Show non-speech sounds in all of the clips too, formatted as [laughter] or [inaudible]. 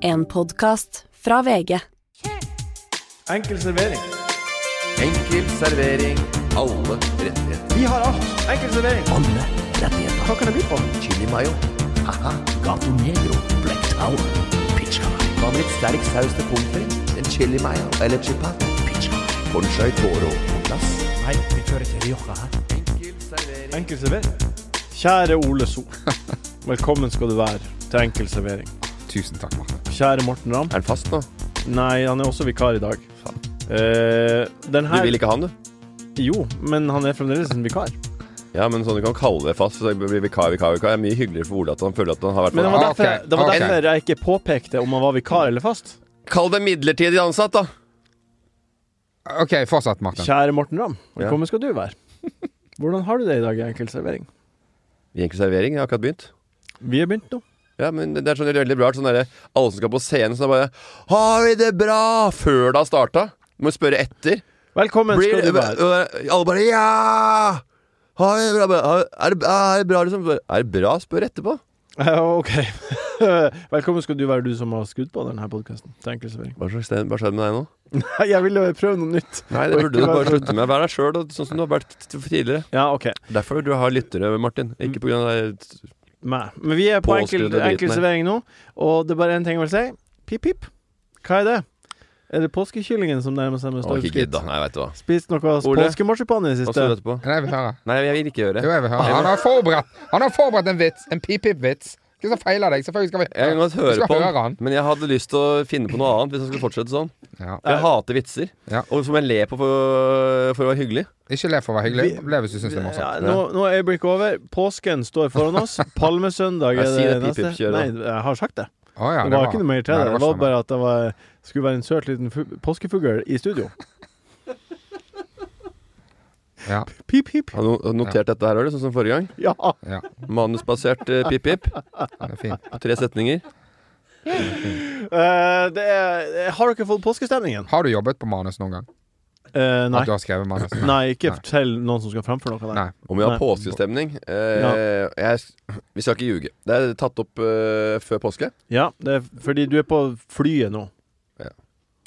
En podkast fra VG. Enkel servering. Enkel servering. Alle rettigheter. Vi har alt. Enkel servering. Alle rettigheter. Hva kan det by på? Chili mayo. Haha. Gato Negro, Black Tower, Pizza Night, Hva med litt sterk saus til pommes frites? En chili mayo eller chipat? Pizza Night. Conchai toro på plass. Nei, vi kjører til Rioja her. Enkel servering. Enkel servering. Kjære Ole So. [laughs] Velkommen skal du være til Enkel servering. Tusen takk, Marte. Kjære Morten Ramm. Er den fast nå? Nei, han er også vikar i dag. Faen. Eh, den Du her vil ikke ha den, du? Jo, men han er fremdeles en vikar. Ja, men sånn du kan kalle det fast. Så det blir vikar, vikar, vikar. Det er mye hyggeligere for Ole at han føler at han har vært Men det var på Ah, derfor, ok. det var Ok. derfor jeg ikke påpekte om han var vikar eller fast. Kall det midlertidig ansatt, da. Ok, fortsett, Martin. Kjære Morten Ramm. Velkommen skal du [laughs] være. Hvordan har du det i dag i Enkel servering? I Enkel servering jeg har akkurat begynt. Vi har begynt nå. Ja, men Det er sånn veldig bra. Sånn derre- alle som skal på scenen, sånn bare 'Har vi det bra?' før det har starta. Må spørre etter. Velkommen Blir, skal du være. øh, alle bare Ja! Ha det bra, bra. Ha- Er det, er det bra, liksom? Bare, Er det bra? Spør etterpå. Ja, ok. [laughs] Velkommen skal du være du som har skudd på denne podkasten. Hva slags sted- hva skjedde med deg nå? [laughs] Jeg ville prøve noe nytt. Nei, det burde du bare slutte med. Vær deg sjøl, sånn som du har vært t- tidligere. Ja, ok. Derfor vil du ha lyttere, Martin. Ikke på grunn av deg. Meg. Men vi er på enkel, Påskrudde driten enkel her. servering nå, og det er bare én ting jeg vil si. Pip, pip. Hva er det? Er det påskekyllingen som nærmer seg med Å, ikke stormskritt? gidd, da. Nei, veit du hva. Spist noe Ole? påskemarsipan i det Hva skal du siste? etterpå? Nei, jeg vil høre. Nei, jeg vil ikke gjøre Jo, det. jeg vil høre. Han har forberedt, han har forberedt en vits. En pip-pip-vits. Hva er det som feiler deg? Selvfølgelig skal vi Jeg kan godt vi høre skal på høre den, han. men jeg hadde lyst til å finne på noe annet hvis jeg skulle fortsette sånn. Ja. For jeg hater vitser. Ja. Og som jeg ler på for, for å være hyggelig. Ikke le for å være hyggelig. Vi- Le hvis du syns det er Ja, morsomt. nå, nå er øyeblikket over. Påsken står foran [laughs] oss. Palmesøndag er Jeg det, sier det pip, neste. pip, kjør, da. Nei, jeg har sagt det. Å, ja, det var ikke noe mer til Nei, det. Det var sånn, bare at det var, skulle være en søt liten fu- påskefugl i studio. Ja. Pip, pip. Har du no- notert dette her, har du? Sånn som forrige gang. [laughs] Ja. ja. Manusbasert eh, pip-pip. ja, det er fint. Tre setninger. Eh, det er, har dere fått påskestemningen? Har du jobbet på manus noen gang? Eh, nei. At du har skrevet manus? Nei, ikke Nei. fortell noen som skal framføre noe der. Nei. Om vi har Nei. påskestemning eh, jeg, Vi skal ikke ljuge. Det er tatt opp eh, før påske. Ja, det er fordi du er på flyet nå. Ja.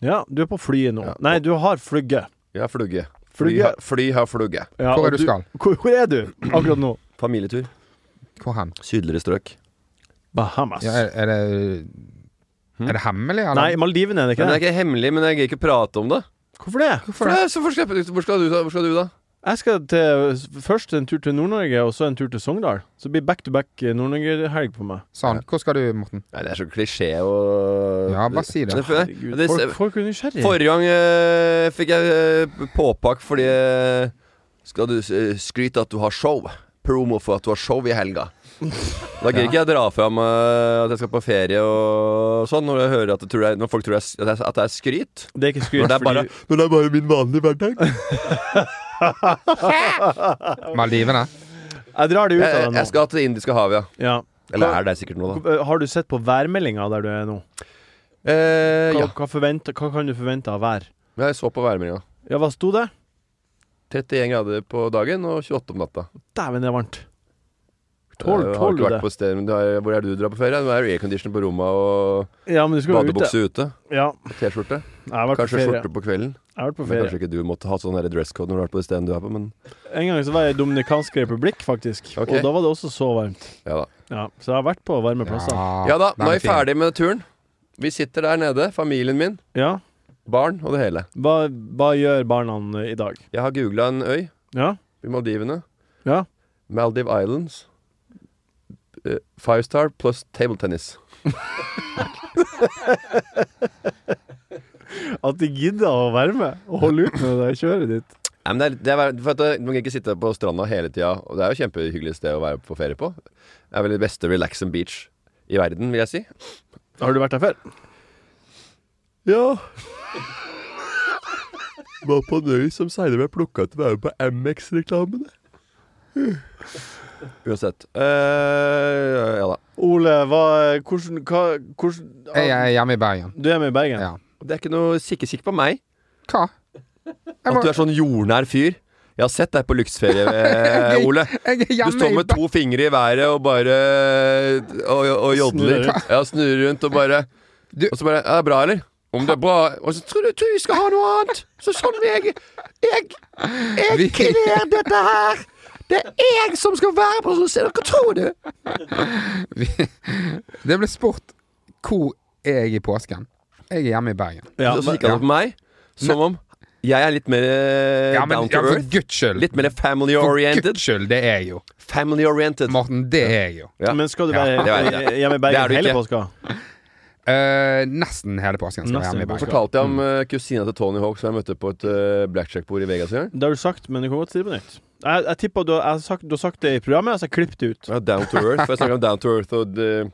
Ja, du er på flyet nå. Ja. Nei, du har flygge. Vi har flugge. Fly, Flugge. har- fly har flugge. Ja, Hvor og er du skal? Hvor, hvor er du akkurat nå? Familietur. Hvor hen? Sydligere strøk. Bahamas. Ja, er, er det Er det hemmelig, eller? Hm? Nei, Maldivene er det Men ikke det det? er ikke hemmelig, men jeg gidder ikke prate om det. Hvorfor det? For det er så hvor, skal, jeg- hvor, skal du, da? hvor skal du da? Jeg skal til, først en tur til Nord-Norge, og så en tur til Sogndal. Så det blir back to back Nord-Norge-helg på meg. Sånn. Hvor skal du, Morten? Nei, det er så klisjé og Ja, bare si det. Men for- Herregud, det- folk, folk er nysgjerrige. Forrige gang eh, fikk jeg eh, påpakk fordi eh, Skal du eh, skryte at du har show? Promo for at du har show i helga. Da gidder ikke jeg dra fram eh, at jeg skal på ferie og sånn, når, jeg hører at, det tror jeg, når folk tror jeg, s- at, jeg, at det er skryt. Det er ikke skryt, Når det er bare, fordi når det er bare min vanlige hverdag. Jeg, Maldivene? Jeg drar det ut av jeg, deg nå. jeg skal til Indiske havet, ja. Ja. Eller er det sikkert nå, da. eh, Har du sett på værmeldinga der du er nå? Eh, Hva, ja. hva, forventer, hva kan du forvente av vær? Jeg så på værmeldinga. Ja, hva sto det? 31 grader på dagen og 28 om natta. Dæven, det er varmt. Tål- Eh, jeg har tåler du ikke vært det? på sted, men du har, Hvor er det du drar på ferie? Det er jo aircondition på rommet og Ja, men du skal jo ute. badebukse ute. Ja, og T-skjorte. jeg har vært på Kanskje ferie. skjorte på kvelden. Jeg har vært på Men ferie. kanskje ikke du måtte ha sånn her dresscode når du har vært på det stedet du er på, men En gang så var jeg i Dominikansk republikk, faktisk. Ok. Og da var det også så varmt. ja da. Ja, så jeg har vært på varme plasser. Ja da, nå den er vi fin. ferdig med turen. Vi sitter der nede, familien min, Ja. barn og det hele. Hva, hva gjør barna i dag? Jeg har googla en øy Ja. i Maldivene. Ja. Maldive Islands. Eh, Five star pluss table tennis. At de gidder å være med og holde ut med det der kjøret ditt. Nei, men det er, det er, for at eh, du kan ikke sitte på stranda hele tida, og det er jo et kjempehyggelig sted å være på ferie på. Det er vel det beste relaxing beach i verden, vil jeg si. Har du vært der før? Ja. [laughs] Var på en øy som seinere ble plukka til å være med på MX-reklamene. [laughs] Uansett. Eh, ja da. Ole, hva Hvordan, hva, hvordan Jeg er hjemme i Bergen. Du er med i Bergen? Ja. Det er ikke noe sikkert på meg Hva? Jeg at var- du er sånn jordnær fyr. Jeg har sett deg på [laughs] lyksferie, eh, Ole. Jeg er Du hjemme står i med to fingre i været og bare Og, og Snurrer jodler. rundt. Ja, snurrer rundt og bare Du- Og så bare Er det bra, eller? Om det er bra Og så tror du, tror du vi skal ha noe annet! Så sånn jeg Jeg, jeg Vi- kler dette her! Det er jeg som skal være på sånn sted! Hva tror du? Det ble spurt hvor er jeg i påsken. Jeg er hjemme i Bergen. Ja, så men, kikker han på meg som om jeg er litt mer eh, Ja, men down ja, to for earth. guds skyld. Litt mer For guds family-oriented. skyld, det er jeg jo. Family-oriented. Morten, det er jeg jo. Ja. men skal du Ja, være det vet jeg. hjemme i Det er Bergen du hele ikke. påska? Eh, nesten hele påsken skal jeg Nesten. hjemme i Bergen. Fortalte jeg om eh, kusina til Tony Hawk som jeg møtte på et eh, blackjack-bord i Vegas i gang? Det har du sagt, men du kan godt si det på nytt. Jeg, jeg tipper du, har- jeg har sagt, du har sagt det i programmet, så jeg klippet det ut. Ja, down to earth. For jeg snakket om down to earth og eh,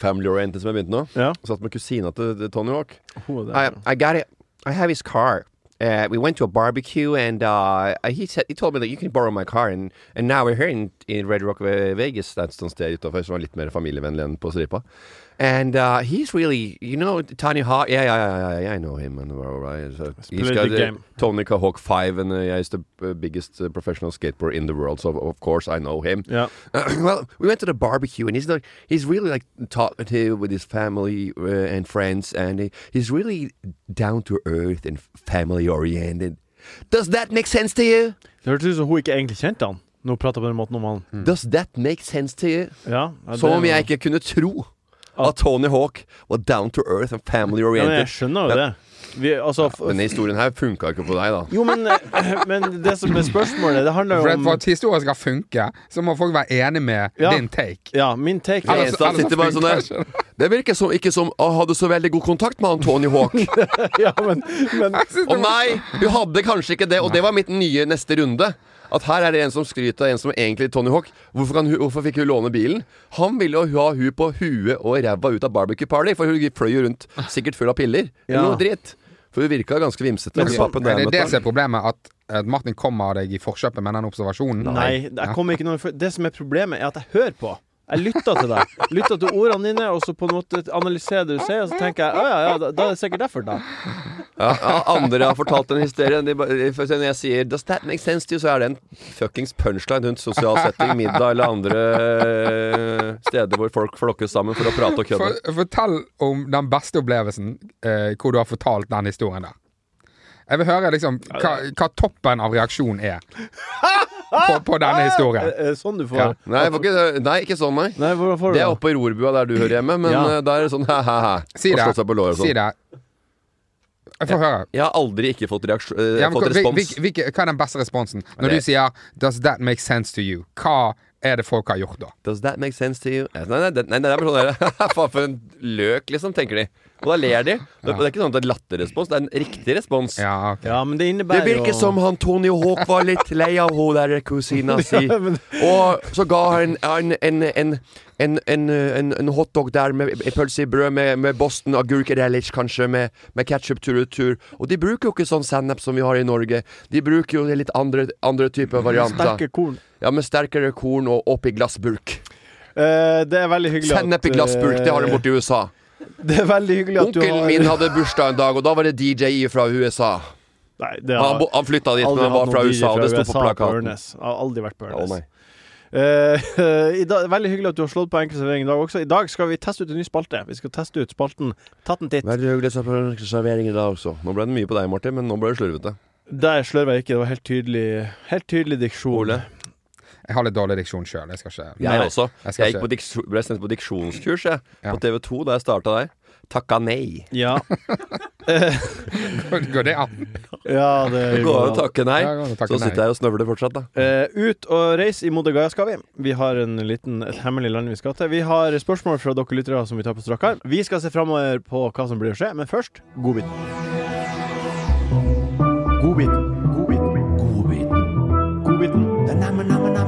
family-oriented som jeg begynte nå. Ja. Satt med kusina til til Tony Hawk. Hun er der. I, I got it. I have his car. Uh, we went to a barbecue, and uh, he said he told me that you can borrow my car. And, and now we're here in, in Red Rock uh, Vegas. Det er et sånt sted utenfor som er litt mer familievennlig enn på stripa. And uh, he's really, you know, Tony Hawk. Yeah, yeah, yeah, yeah, yeah I know him. And blah, blah, blah. So he's the got uh, game. Tony Hawk 5, and uh, yeah, he's the uh, biggest uh, professional skateboarder in the world. So of course I know him. Ja. [clears throat] well, we went to the barbecue, and he's like, he's really like talkative with his family uh, and friends, and he, he's really down to earth and family oriented. Does that make sense to you? Det hørtes ut som hun ikke egentlig kjente han, når hun prata på den måten om han. Does that make sense to you? Ja, Hmm. ja, det- Som om jeg ikke kunne tro at Tony Hawk var down to earth and family ja, men Jeg oriented. skjønner jo det. Vi, altså, f- Denne historien her funka ikke på deg, da. jo, men, eh, [laughs] men det som er spørsmålet, det handler For at, jo for om at historien skal funke, så må folk være enig med Ja. din take. Ja, min take Det Ellers- er eneste han ellers sitter altså, bare sånn funker der Det virker som, ikke som å, hadde så veldig god kontakt med han [laughs] Tony Hawk. [laughs] Ja, men, men Og nei, hun hadde kanskje ikke det, og det var mitt nye neste runde. At her er det en som skryter av en som egentlig er Tony Hawk. Hvorfor, kan hun, hvorfor fikk hun låne bilen? Han ville jo ha hun på huet og ræva ut av barbecue party, for hun fløy jo rundt sikkert full av piller. Ja. Eller noe dritt. For hun virka ganske vimsete. Men hun så- pappen Men der, det er det vet du. som er problemet, at, at Martin kommer deg i forkjøpet med den observasjonen. Nei, jeg kommer ikke noe for- Det som er problemet, er at jeg hører på. Jeg lytter til deg. Lytter til ordene dine, og så på en måte analyserer det du sier, og så tenker jeg Å ja, ja, da, da er det sikkert derfor, da. ja, ja, andre har fortalt den historien. De, bare- for når jeg sier 'Does that make sense to you?', så er det en fuckings punchline rundt sosial setting, middag eller andre eh, steder hvor folk flokkes sammen for å prate og kødde. For, fortell om den beste opplevelsen eh, hvor du har fortalt den historien der. Jeg vil høre liksom hva, hva toppen av reaksjon er på, på denne Er historien. er det sånn du får Ja. Nei, det var ikke, nei, ikke sånn, nei. Nei, hvordan får du Det er oppe i rorbua der du hører hjemme, men Ja. eh, der er det sånn [laughs] hæ-hæ-hæ. Si det. Seg på låret og Si sånn. det. Jeg får høre. Jeg har aldri ikke fått, reaksjon, eh, Ja, men, fått hva- hvil- respons. hvil- hvilke- hva er den beste responsen? Når Det- du sier 'Does that make sense to you?' Hva er det folk har gjort da? Does that make sense to you? Eh, Nei, nei, det- nei, det er bare sånn der, [laughs] Faen, for en løk, liksom, tenker de. Og da ler de. Det, det er ikke sånn at det er latterrespons, det er en riktig respons. Ja, ok. Ja, men det Det innebærer virker som han Tony Hawk var litt lei av hun der kusina [laughs] si. Ja, [laughs] men- Og så ga han en, en, en, en, en, en, en hotdog der med en pølse i brød med, med Boston agurk relish, kanskje, med, med ketsjup tur og tur. Og de bruker jo ikke sånn sennep som vi har i Norge. De bruker jo litt andre, andre Mm, typer varianter. Sterke korn. Ja, med sterkere korn og oppi glassburk. Eh, det er veldig hyggelig eh, Sennep i glassburk, det har de borti USA. [laughs] Det er veldig hyggelig at du har Onkelen min hadde bursdag en dag, og da var det DJ fra USA. Nei, det har Han, bo- han flytta dit, men aldri han var hatt fra noen USA, og det DJ sto på fra USA plakaten. Ørnes. Jeg har aldri vært på Å, Ørnes. nei. Eh, [laughs] i dag, veldig hyggelig at du har slått på enkeltservering i dag også. I dag skal vi teste ut en ny spalte. Vi skal teste ut spalten Tatt en titt. Veldig hyggelig å se på servering i dag også. Nå ble det mye på deg, Martin, men nå ble det slurvete. Der slørva jeg ikke. Det var helt tydelig, helt tydelig diksjon. Ole? Jeg har litt dårlig diksjon sjøl. Jeg skal ikke Jeg Nei, også. jeg skal Jeg gikk ikke- på diksjo- ble sendt på diksjonskurs jeg, Ja. på TV2 da jeg starta der. Takka nei. Ja, [laughs] [laughs] Går det an? ja det Det går an å takke nei. Ja, det går an å takke Så nei. sitter jeg og snøvler fortsatt, da. Eh, ut og reise i Modigaya skal vi. Vi har en liten, et hemmelig land vi skal til. Vi har spørsmål fra dere lyttere som vi tar på strak arm. Vi skal se framover på hva som blir å skje, men først godbiten. Godbiten. Godbiten. Godbiten.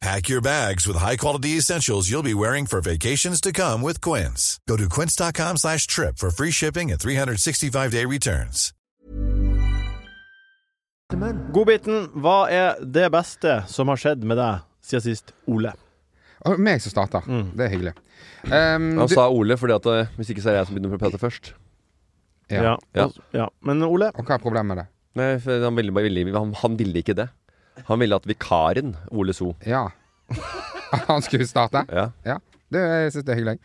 Pack your bags with high-quality essentials you'll be wearing for vacations to come with Quince. Go to quince.com slash trip for free shipping and 365-day returns. Godbiten, hva er det beste som har skjedd med deg siden sist, Ole? Og meg som starter. Det er hyggelig. Ehm, Mm. Han du- sa Ole, fordi at eh, hvis ikke så er det jeg som begynner å prate først. ja. Ja. Og- ja. Men Ole, Og hva er problemet med det? Nei, for han ville, bare- ville, han, han ville ikke det. Han ville at vikaren Ole So Ja. [laughs] At han skulle starte? ja. Ja. Det, jeg syns det er hyggelig.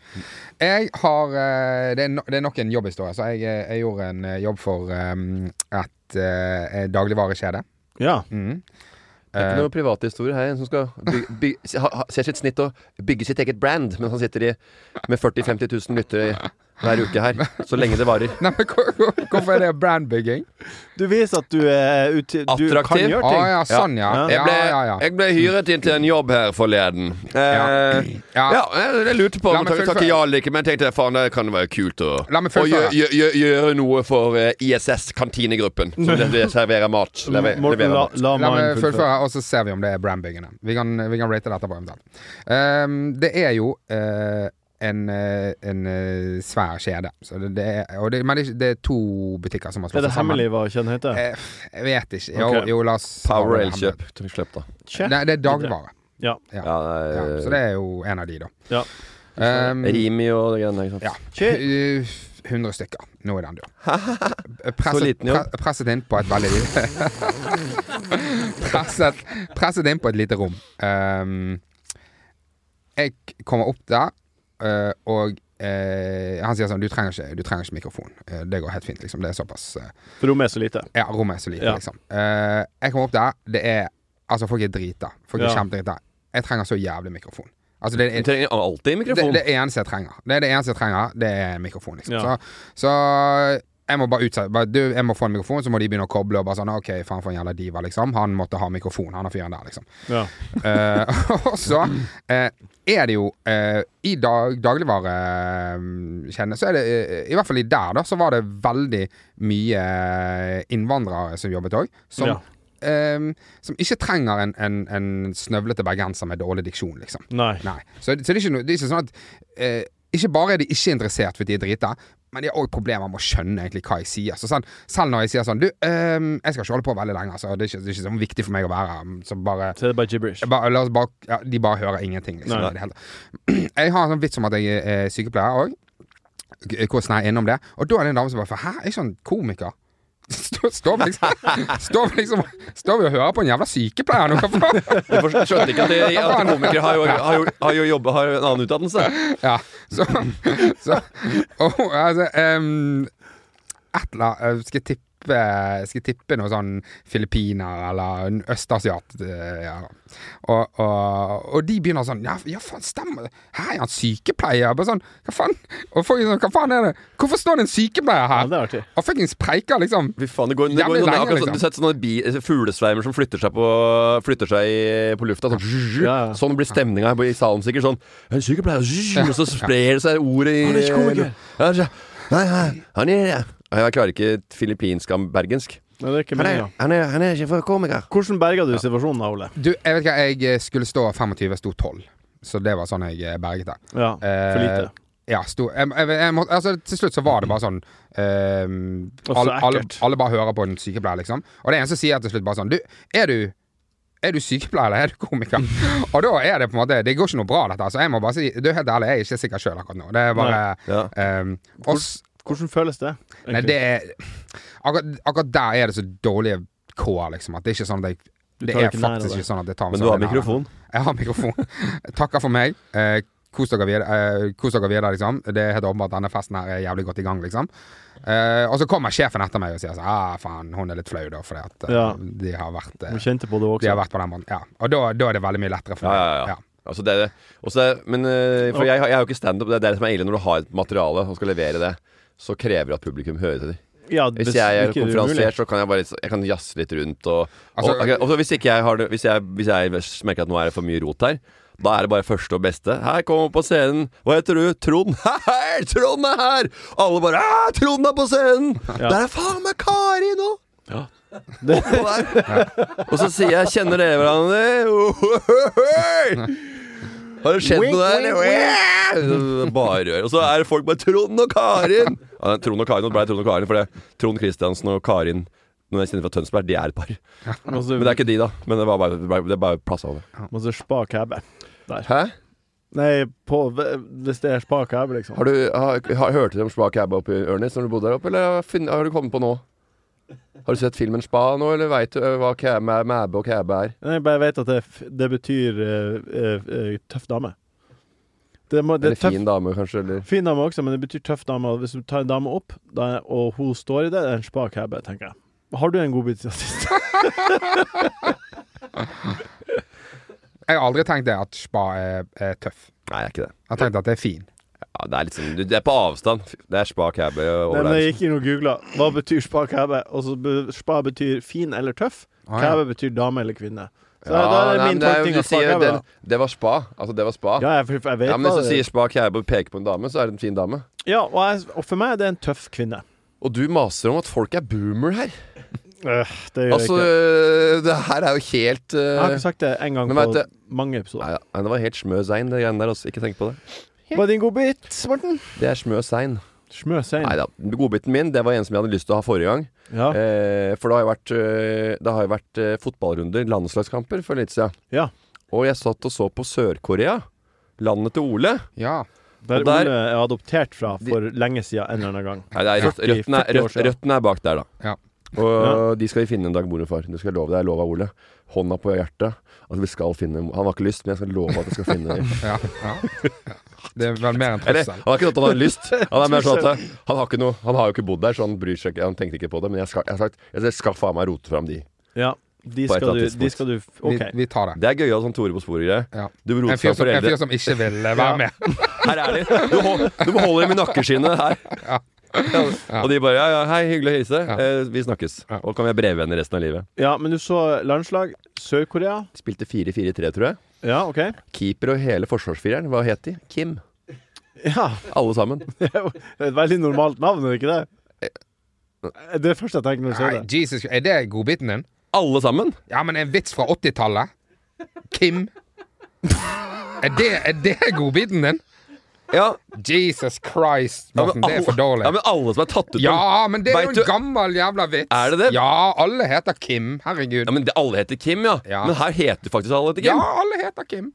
Jeg har eh, det er, no, det er nok en jobbhistorie. Så jeg, eh, jeg gjorde en eh, jobb for ehm, et eh, dagligvarekjede. [laughs] ja. Mm. Det er Eh, ikke noe privat historie her. En som skal bygge, bygge, se- ha, ha, ser sitt snitt og bygge sitt eget brand mens han sitter i, med 40 000-50 000 lyttere i- hver uke her. Så lenge det varer. Nei, men hvor- hvor- hvorfor er det brandbygging? Du viser at du er ute Du kan Attraktiv. Ah, gjøre Å ting. ja, sånn ja. Ja. Ja, Jeg ble, ja, ja. jeg ble hyret inn til en jobb her forleden. Ja. Eh, Ja. ja. jeg, jeg lurte på La om meg jeg takket fullføre. ja eller ikke, men jeg tenkte faen, det kan være kult å, La meg å gjøre, fullføre. gjøre, gjøre noe for eh, ISS, [laughs] kantinegruppen, som det, det serverer mat. Lever, Morten, leverer la, mat. la La meg mannen fullføre. fullføre, og så ser vi om det er brandbyggende. Vi kan, vi kan rate det etterpå eventuelt. Ehm, det er jo eh, en, eh, en eh, svær kjede. Så det, det er, og det, men det er, ikke- det er to butikker som Er har slått det seg sammen. hemmelig hva kjeden heter? Eh, Jeg vet ikke. Jo, Ok. jo la oss Power holde det hemmelig. Elkjøp. Slipp, da. Kje? Nei, det er dagligvare. Ja. Ja, nei, eh, Ja, så det er jo en av de, da. Ja. Ehm, Rimi og det greiene der. ikke sant? ja. Shit. Eh, 100 stykker. Nå er den død. [laughs] Så liten jobb. pre- presset inn på et veldig lite [laughs] presset, presset inn på et lite rom. Ehm, jeg kommer opp der, eh, og eh, han sier sånn Du trenger ikke, du trenger ikke mikrofon. Eh, det går helt fint, liksom. Det er såpass eh, For rommet er så lite. Ja, rommet er så lite, Ja. liksom. Eh, jeg kommer opp der, det er Altså, folk er drita. Folk er Ja. kjempedrita. Jeg trenger så jævlig mikrofon. Altså, det Du er trenger alltid mikrofon. det, det eneste jeg trenger. Det er det eneste jeg trenger, det er en mikrofon. Liksom. Ja. Så, så jeg må bare utsette bare, du, Jeg må få en mikrofon, så må de begynne å koble og bare sånn OK, faen for en jævla diva, liksom. Han måtte ha mikrofon, han er fyren der, liksom. Ja. Eh, [laughs] og så eh, er det jo eh, I dag, dagligvarekjedene, så er det eh, I hvert fall i der, da, så var det veldig mye eh, innvandrere som jobbet òg. Som, Ja. eh, som ikke trenger en, en, en snøvlete bergenser med dårlig diksjon, liksom. Nei. Nei. Så, så det, er ikke noe, det er ikke sånn at eh, Ikke bare er de ikke interessert fordi de er drita, men de har òg problemer med å skjønne egentlig hva jeg sier. Så sånn, selv når jeg sier sånn Du, ehm, jeg skal ikke holde på veldig lenge, altså. Det er ikke, det er ikke så viktig for meg å være her. Så bare Så er det bare gibberish. jeg bare, la oss bare, ja, de bare hører ingenting. Liksom, Nei. i det hele tatt. [clears throat] Jeg har en sånn vits om at jeg er sykepleier òg. Hvordan jeg er innom det. Og da er det en dame som bare for, Hæ, er ikke han komiker? [laughs] Står står vi liksom, står vi liksom Står vi og hører på en jævla sykepleier nå? Hva faen? Jeg forstår- jeg skjønte ikke at, det, at komikere har jo, har, jo, har, jo jobbet, har jo en annen utdannelse. Ja, så, så og, altså, ehm, Et eller annet Skal jeg tippe skal jeg tippe noe sånn Filippiner eller en østasiat eh, ja. og, og, og de begynner sånn Ja, ja faen, stemmer det? Her er han sykepleier Bare sånn, hva faen? Og folk er sånn, hva faen er det? Hvorfor står det en sykepleier Ja, her? det er artig. Og fuckings preiker liksom Fy faen, det går, det Jævlig går noe, lenge, akkurat, liksom. sånn- Du har sett sånne bi, fuglesveimer som flytter seg på, flytter seg i, på lufta. Sånn, zzzz. Ja, ja. sånn blir stemninga i salen sikkert. Sånn En sykepleier zzzz, Og så sprer det seg ordet i Ja, så- Nei, nei, han er Jeg klarer ikke filippinsk og bergensk. Nei, det er ikke Han er, meningen. han er, han er ikke for komiker. Hvordan berga du situasjonen da, Ole? Du, jeg vet ikke, jeg skulle stå 25, jeg sto 12 Så det var sånn jeg eh, berget det Ja, for lite. Eh, Ja, sto, jeg, jeg, jeg må, altså, til slutt så var det bare sånn ehm, Og så alle, alle, ekkelt. alle bare hører på en sykepleier, liksom. Og det er en som sier til slutt bare sånn Du, er du er du sykepleier eller er du [laughs] komiker? og da er det på en måte Det går ikke noe bra, dette. Så jeg må bare si Du, helt ærlig, jeg er ikke sikker sjøl akkurat nå. Det er bare Ja. ehm, oss, Hvordan føles det? Nei, det er akkurat, akkurat der er det så dårlige kår, liksom. At det er ikke sånn at jeg Du Det tar er ikke nær av faktisk det. ikke sånn at jeg tar meg Men du har sånn i nærheten. mikrofon. Jeg har mikrofon. [laughs] Takker for meg. Eh, Kos dere videre, eh, kos dere videre liksom. Det er helt åpenbart at denne festen her er jævlig godt i gang, liksom. Eh, og så kommer sjefen etter meg og sier sånn ah, faen, hun er litt flau, da, fordi at eh, Ja. de, har vært, eh, Du kjente på det de har også. vært på den måten. Ja. Og da, da er det veldig mye lettere for Ja, meg. ja, ja. Altså det er det. Og så er- men eh, for jeg, har- jeg har jo ikke standup. Det er det som er ille når du har et materiale og skal levere det. Så krever det at publikum hører til deg. Ja, Hvis bes- jeg er ikke umulig. konferansier, så kan jeg bare jeg kan jazze litt rundt. Og, Altså- og, ok, og så hvis ikke jeg har det hvis jeg, hvis jeg merker at nå er det for mye rot her, da er det bare første og beste. Her kommer på scenen. Hva heter du? Trond. [laughs] Hei, Trond er her! Alle bare «Æ, Trond er på scenen! Der er faen meg Kari nå! [laughs] Oppå der. Og så sier jeg 'Kjenner dere hverandre?' [laughs] Ohohohoi! Har det skjedd Wink, noe der? wink, Wink. [laughs] Bare rør. Og så er det folk bare 'Trond og Karin'. Ja, det er Trond og Karin, Nå ble det Trond og Karin, for det er Trond Kristiansen og Karin noen jeg kjenner fra Tønsberg, de er et par. Må så- Men det er ikke de, da. Men det var bare, det ble- det bare plassa over. Må så spa cabbe. Der. Hæ? Nei, på Hvis det er spa cabbe, liksom. Har du, har, har, hørte du om Spa Cab oppe i Ørnes når du bodde der oppe, eller har funnet- har du kommet på nå? Har du sett filmen Spa nå, eller veit du ø, hva cab- mæbe og kæbe er? Nei, jeg bare vet at det, f- det betyr eh, eh, eh, tøff dame. Det, må, det Eller er tøff, fin dame, kanskje? Eller? fin dame også, men det betyr tøff dame. og Hvis du tar en dame opp, da, og hun står i det, det er en spa cabbe, tenker jeg. Har du en godbit siden sist? Jeg har aldri tenkt det at spa er, er tøff. Nei, det er ikke det. Jeg har tenkt at det er fin. Ja, det er litt sånn, du- det er på avstand. Det er Spa Cab Nei, over men øh, der. jeg gikk inn og googla hva betyr spa cabbe, og så be, spa betyr fin eller tøff. Ah, ja. Cabbe betyr dame eller kvinne. Så Ja, da er nei, det men min det er jo- tolkning du av spa sier jo cabbe. den- Det var spa. Altså, det var spa. da. Ja, jeg, jeg vet Ja, men hva hvis du det sier spa kæbe og peker på en dame, så er det en fin dame. Ja, og, jeg, og for meg er det en tøff kvinne. Og du maser om at folk er boomer her. Øh, det gjør jeg Altså, ikke. øh, det her er jo helt øh, Jeg har ikke sagt det en gang men vet på du- mange Nei, episoder. ja, nei, det var helt smø sein, det greiene der. Også. Ikke tenk på det. Hva er din godbit, Morten? Det er smø sein. Smø sein. Nei da. Godbiten min, det var en som jeg hadde lyst til å ha forrige gang. Ja. Eh, for det har jo vært, øh, det har jo vært øh, fotballrunder, landslagskamper, for litt siden. Ja. Og jeg satt og så på Sør-Korea. Landet til Ole. Ja. Der, Og der- Ole er adoptert fra for lenge siden en eller annen gang. Nei, det er rødt, 40, røttene, er, 40 år rødt, siden. røttene er bak der, da. Ja. Og de skal vi finne en dag, mor og far. Det skal jeg love deg. Jeg lover Ole. Hånda på hjertet. At vi skal finne Han har ikke lyst, men jeg skal love at jeg skal finne dem. ja, ja. Det er vel mer en Eller, trussel. han har ikke sånn at han har [laughs] lyst. Han er mer sånn at han har, ikke noe, han har jo ikke bodd der, så han bryr seg ikke. Han tenkte ikke på det. Men jeg skal, jeg har sagt, jeg skal faen meg rote fram de. Ja, de På et skal, eller du, annet de tidspunkt. skal du Vi, OK. vi tar det. Det er gøyalt sånn Tore på sporet-greie. Ja. Du vil rote En fram fyr, som, en fyr foreldre. som ikke vil eh, være med. Her er de. Du, hold, du må holde dem i nakkeskinnet [laughs] her. Og de bare ja, ja, hei, hyggelig å hilse. Eh, vi snakkes. Ja. Og kan være brevvenner resten av livet. Ja, men du så landslag. Sør-Korea. Spilte 4-4-3, tror jeg. Ja, OK. Keeper og hele forsvarsfireren, hva het de? Kim. Ja, Alle sammen. det er jo [laughs] et veldig normalt navn, er det ikke det? Det er det første jeg tenker når du ser Nei, det. Jesus, Er det godbiten din? Alle sammen? Ja, men en vits fra 80-tallet. Kim. Er det, er det godbiten din? Ja, Jesus Christ, Morten. Det er for dårlig. Ja, men alle som er tatt ut av Ja, men det er jo Vet en du- gammel jævla vits. Er det det? Ja, alle heter Kim. Herregud. Ja, men det, alle heter Kim, ja. Ja. Men her heter faktisk alle heter Ja, Kim. alle heter Kim.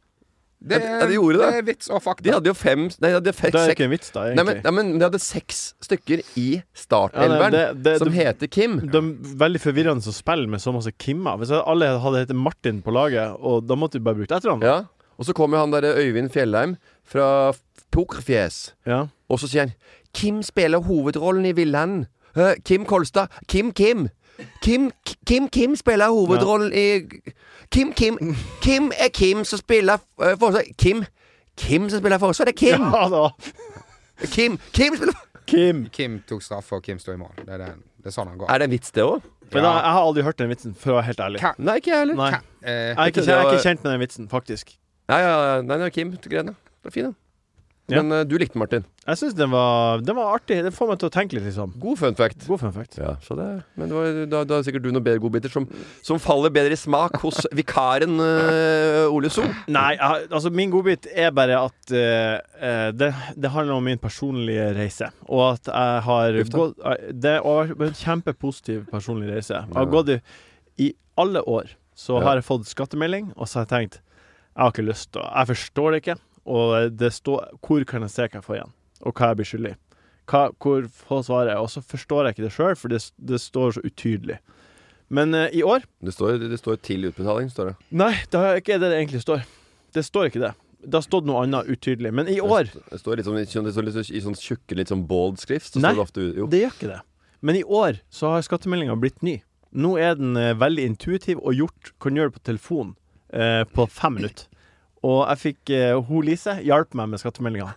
Det Ja, de- er, ja, de gjorde det. det er vits og fakta. De hadde jo fem Nei, de hadde fem, Det er ikke seks en vits, da, nei men, egentlig. nei, men de hadde seks stykker i Ja, startelveren nei, det- det- som det- heter Kim. Det er veldig forvirrende å spille med så masse Kimmer. Hvis alle hadde hett Martin på laget, og da måtte vi bare brukt etternavn. Ja. Og så kommer han derre Øyvind Fjellheim fra Pokerfjes, Ja. [clears throat] og så sier han Kim spiller hovedrollen i Villanden. Hæ, Kim Kolstad. Kim Kim. Kim K- Kim, Kim spiller hovedrollen i Kim Kim Kim er Kim som spiller uh, forsvar. Kim Kim som spiller forsvar, det er Kim! ja da. Kim, Kim spiller Kim. Kim tok straffe, og Kim sto i mål. Det er, det, det er sånn han går. Er det en vits, det òg? Men da, jeg har aldri hørt den vitsen, for å være helt ærlig. Hva- Nei, ikke jeg heller. Nei. Ka- eh, Jeg er ikke, Det jeg er var- ikke kjent med den vitsen, faktisk. Nei, ja, ja, nei, nei, Kim til greiene. Det er fint, da. Ja. Men eh, du likte den, Martin. Jeg syns den, var- den var artig. Det får meg til å tenke litt, liksom. God fun fact. God fun fact. Ja, så det, men det var, da, da er sikkert du noen bedre godbiter som, som faller bedre i smak [laughs] hos vikaren eh, Ole So. Nei, jeg, altså min godbit er bare at eh, eh, det, det handler om min personlige reise. Og at jeg har Uff da. gått eh, Det har vært en kjempepositiv personlig reise. Jeg har gått i, i alle år så Ja. har jeg fått skattemelding, og så har jeg tenkt Jeg har ikke lyst til å Jeg forstår det ikke, og det står Hvor kan jeg se hva jeg får igjen, og hva jeg blir skyldig? Hva, hvor få svaret? Og så forstår jeg ikke det sjøl, for det, det står så utydelig. Men eh, i år Det står, det står 'til utbetaling', står det. Nei, det er ikke det det egentlig står. Det står ikke det. Det har stått noe annet utydelig. Men i år Det står litt sånn, i sånn- det står litt sånn, i sånn tjukke, litt sånn bold skrift. Så Nei. står det ofte, jo. Det gjør ikke det. Men i år så har skattemeldinga blitt ny. Nå er den eh, veldig intuitiv og gjort. Kan gjøre det på telefon eh, på fem minutter. Og jeg fikk eh, hun Lise hjalp meg med skattemeldinga.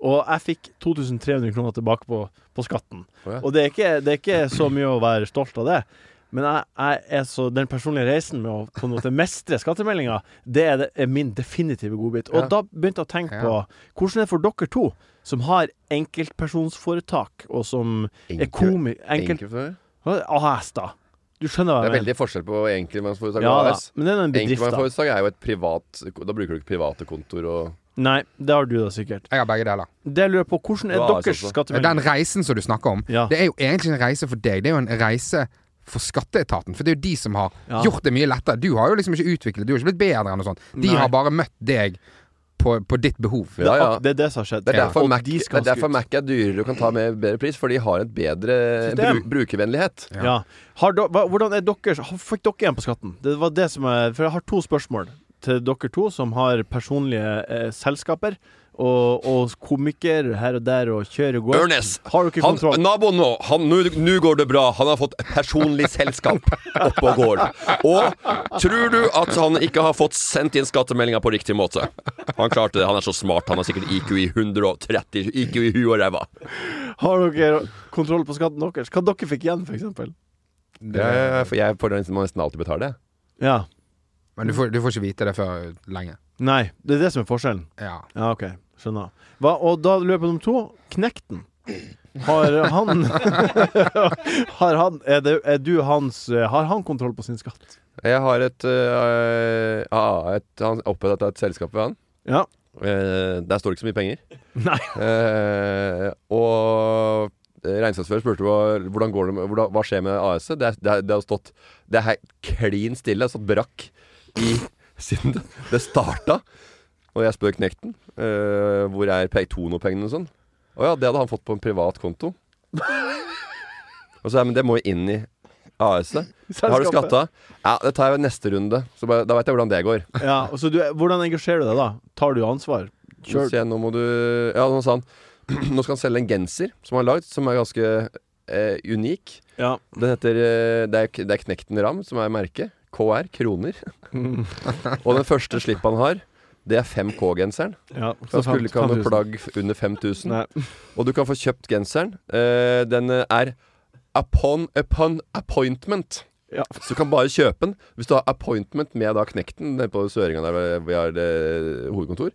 Og jeg fikk 2300 kroner tilbake på, på skatten. Å ja. Og det er, ikke, det er ikke så mye å være stolt av det. Men jeg, jeg er så, den personlige reisen med å på en måte mestre skattemeldinga, det er, det- er min definitive godbit. Og Ja. da begynte jeg å tenke Ja. på hvordan er det for dere to, som har enkeltpersonsforetak, og som er komi... Enkelt... Enkeltmannsforetak? AS, da. Du skjønner hva Det jeg er veldig forskjell på enkeltmannsforetak Ja, og da. AS. Men det er en bedrift, da. Enkeltmannsforetak er jo et privat Da bruker du ikke private kontor og Nei, det har du da sikkert. Jeg har begge deler. Det jeg lurer på, hvordan er Du har AS deres også. Den skattemelding? reisen som du snakker om, Ja. det er jo egentlig en reise for deg. Det er jo en reise for skatteetaten, for det er jo de som har Ja. gjort det mye lettere. Du har jo liksom ikke utviklet, du har ikke blitt bedre enn noe sånt. De Nei. har bare møtt deg på, på ditt behov. Ja, ja. Det er det som har skjedd. Det er derfor, Og Mac, de det skal er ha derfor skutt. Mac er dyrere og kan ta med bedre pris, for de har et bedre System. bru brukervennlighet. Ja. Har do, hva, hvordan er deres Fikk dere igjen på skatten? Det var det som er, For jeg har to spørsmål til dere to som har personlige eh, selskaper. Og, og komiker her og der og kjører og går. Ørnes, Har dere Han, kontroll? naboen nå, han- nå nå går det bra. Han har fått personlig selskap oppe og går. Og tror du at han ikke har fått sendt inn skattemeldinga på riktig måte? Han klarte det. Han er så smart. Han har sikkert IQ i 130 IQ i huet og ræva. Har dere kontroll på skatten deres? Hva dere fikk igjen, f.eks.? Jeg jeg får nesten nesten alltid betale det. Ja. Men du får, du får ikke vite det før lenge. Nei. Det er det som er forskjellen. Ja. Ja, OK. Skjønner. Hva, og da løper nummer to. Knekten. Har han, har han er, det, er du hans eh, Har han kontroll på sin skatt? Jeg har et, øh, ah, et Han opprettet et selskap ved han. Ja. Eh, der står det ikke så mye penger. Nei. Eh, og regnskapsfører spurte hva, hvordan går det med, hvordan, hva skjer med AS-et. Det, er- det, er- det har stått Det er helt klin stille. Det har stått brakk i, siden det, det starta. Og jeg spør Knekten eh, hvor er Pektono-pengene og sånn. Å ja, det hadde han fått på en privat konto. og så, ja, men det må jo inn i AS-et. Har du Selskapet. skatta? Ja, det tar jeg ved neste runde. Så bare, da veit jeg hvordan det går. Ja, og så du, hvordan engasjerer du deg da? Tar du ansvar? Kjør. Kjør. Se, nå må du Ja, nå sa han [clears throat] Nå skal han selge en genser som han har lagd, som er ganske eh, unik. Ja. [laughs] Den heter eh, det, er, det er Knekten Ram, som er merket. KR, kroner. Og den første slipp han har, det er 5K-genseren. ja. Han skulle ikke ha noe 5000. plagg f- under 5000. Nei. [laughs] Og du kan få kjøpt genseren. Eh, den eh, er upon, upon appointment. Ja. Så du kan bare kjøpe den hvis du har appointment med da Knekten nede på Søringa der vi har eh, hovedkontor.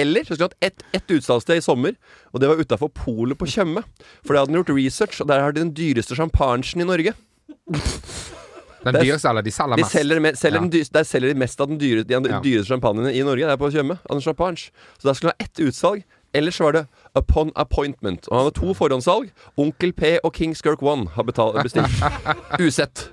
Eller så skulle du hatt ett et utsalgssted i sommer, og det var utafor polet på Tjøme. For der hadde den gjort research, og der har de den dyreste sjampanjen i Norge. Den Det er- dyreste, eller de selger De mest. selger, me- selger Ja. den dyr, der selger de mest av den dyre, de andre- Ja. dyreste champagnene i Norge. Det er på Tjøme. av den champagne. Så der skulle han ha ett utsalg. Ellers så var det Upon Appointment. Og han hadde to forhåndssalg. Onkel P og King Skirk One har betal, [laughs] bestilt. Usett.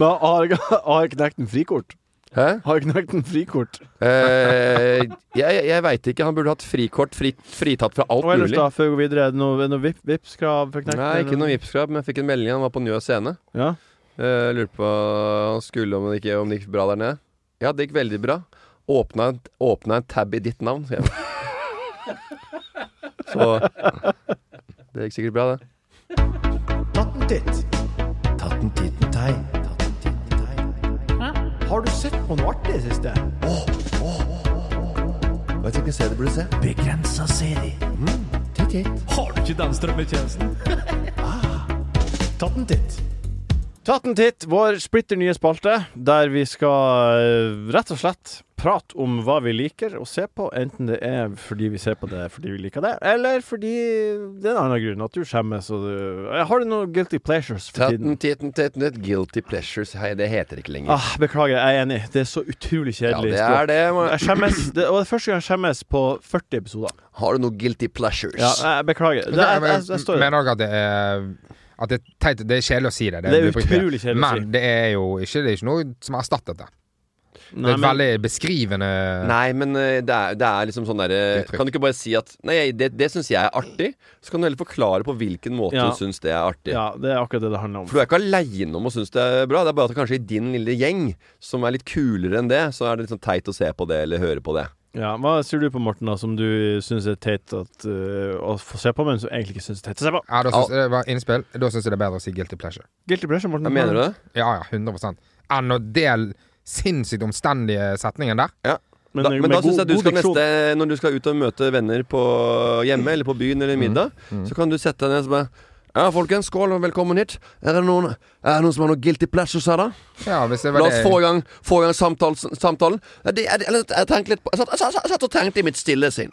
Men har, har knekten frikort? Hæ? Har knekten frikort? Eh, jeg jeg veit ikke. Han burde hatt frikort, fri, fritatt fra alt Og ellers mulig. da, før vi går videre, er det noe, er det noe vip, vipskrav for knekten? Nei, ikke noe Vipps-krav, men jeg fikk en melding. Han var på Njø scene. Ja. Eh, lurte på han skulle om det, ikke, om det gikk bra der nede. Ja, det gikk veldig bra. Åpna en, åpna en tab i ditt navn, sier jeg. [laughs] Så det gikk sikkert bra, det. Tatten titt. Tatten titten tei. Tatten titten tei. Har du sett på noe artig i det siste? Vet du hvilken serie du burde se? Begrensa serie. Titt, titt. Har du ikke den strømmetjenesten? Tatten titt. Tatten titt, vår splitter nye spalte, der vi skal eh, rett og slett prate om hva vi liker å se på, enten det er fordi vi ser på det fordi vi liker det, eller fordi det er en annen grunn, at du skjemmes og du Eh, Har du noen guilty pleasures for tiden? Tatten, titten, titten, titten. Guilty pleasures. Hei, det heter ikke lenger. Ah, beklager, jeg er enig. Det er så utrolig Ja, kjedelig. det er det. må- Jeg skjemmes, det, og det er første gang jeg skjemmes på 40 episoder. Har du noe guilty pleasures? Ja, jeg beklager. Det, jeg, jeg, jeg står Men òg at det er at det, er teit, det er kjedelig å si det. Det er bruker ikke utrolig kjedelig å si. Men det er jo ikke, det er ikke noe som har erstattet det. Det Nei, er et men, veldig beskrivende Nei, men eh, det er, det er liksom sånn derre Uttrykk. Kan du ikke bare si at Nei, det, det syns jeg er artig. Så kan du heller forklare på hvilken måte Ja. du syns det er artig. Ja, det er akkurat det det handler om. For du er ikke aleine om å synes det er bra. Det er bare at kanskje i din lille gjeng, som er litt kulere enn det, så er det litt sånn teit å se på det eller høre på det. Ja, Hva sier du på Morten, da, som du syns er teit at, eh, å få se på, men som egentlig ikke syns er teit å se på? Ja, da synes, det var innspill. Da syns jeg det er bedre å si guilty pleasure. Guilty pleasure, Morten. Hva mener du det? Ja ja, 100 Enn å dele sinnssykt omstendige setningen der. men, da, men med da syns god- jeg du god skal diksjon. neste Når du skal ut og møte venner på hjemme eller på byen Mm. eller middag, så kan du sette deg ned og bare Ja, folkens, skål og velkommen hit. Er det noen, er det noen som har noe guilty pleasures her, da? Ja, hvis det var La oss det- få i gang, få i gang samtalen. samtalen. Ja, det- Jeg, jeg, jeg, tenkte litt på, jeg, satt, jeg, satt, jeg satt og tenkte i mitt stille sinn.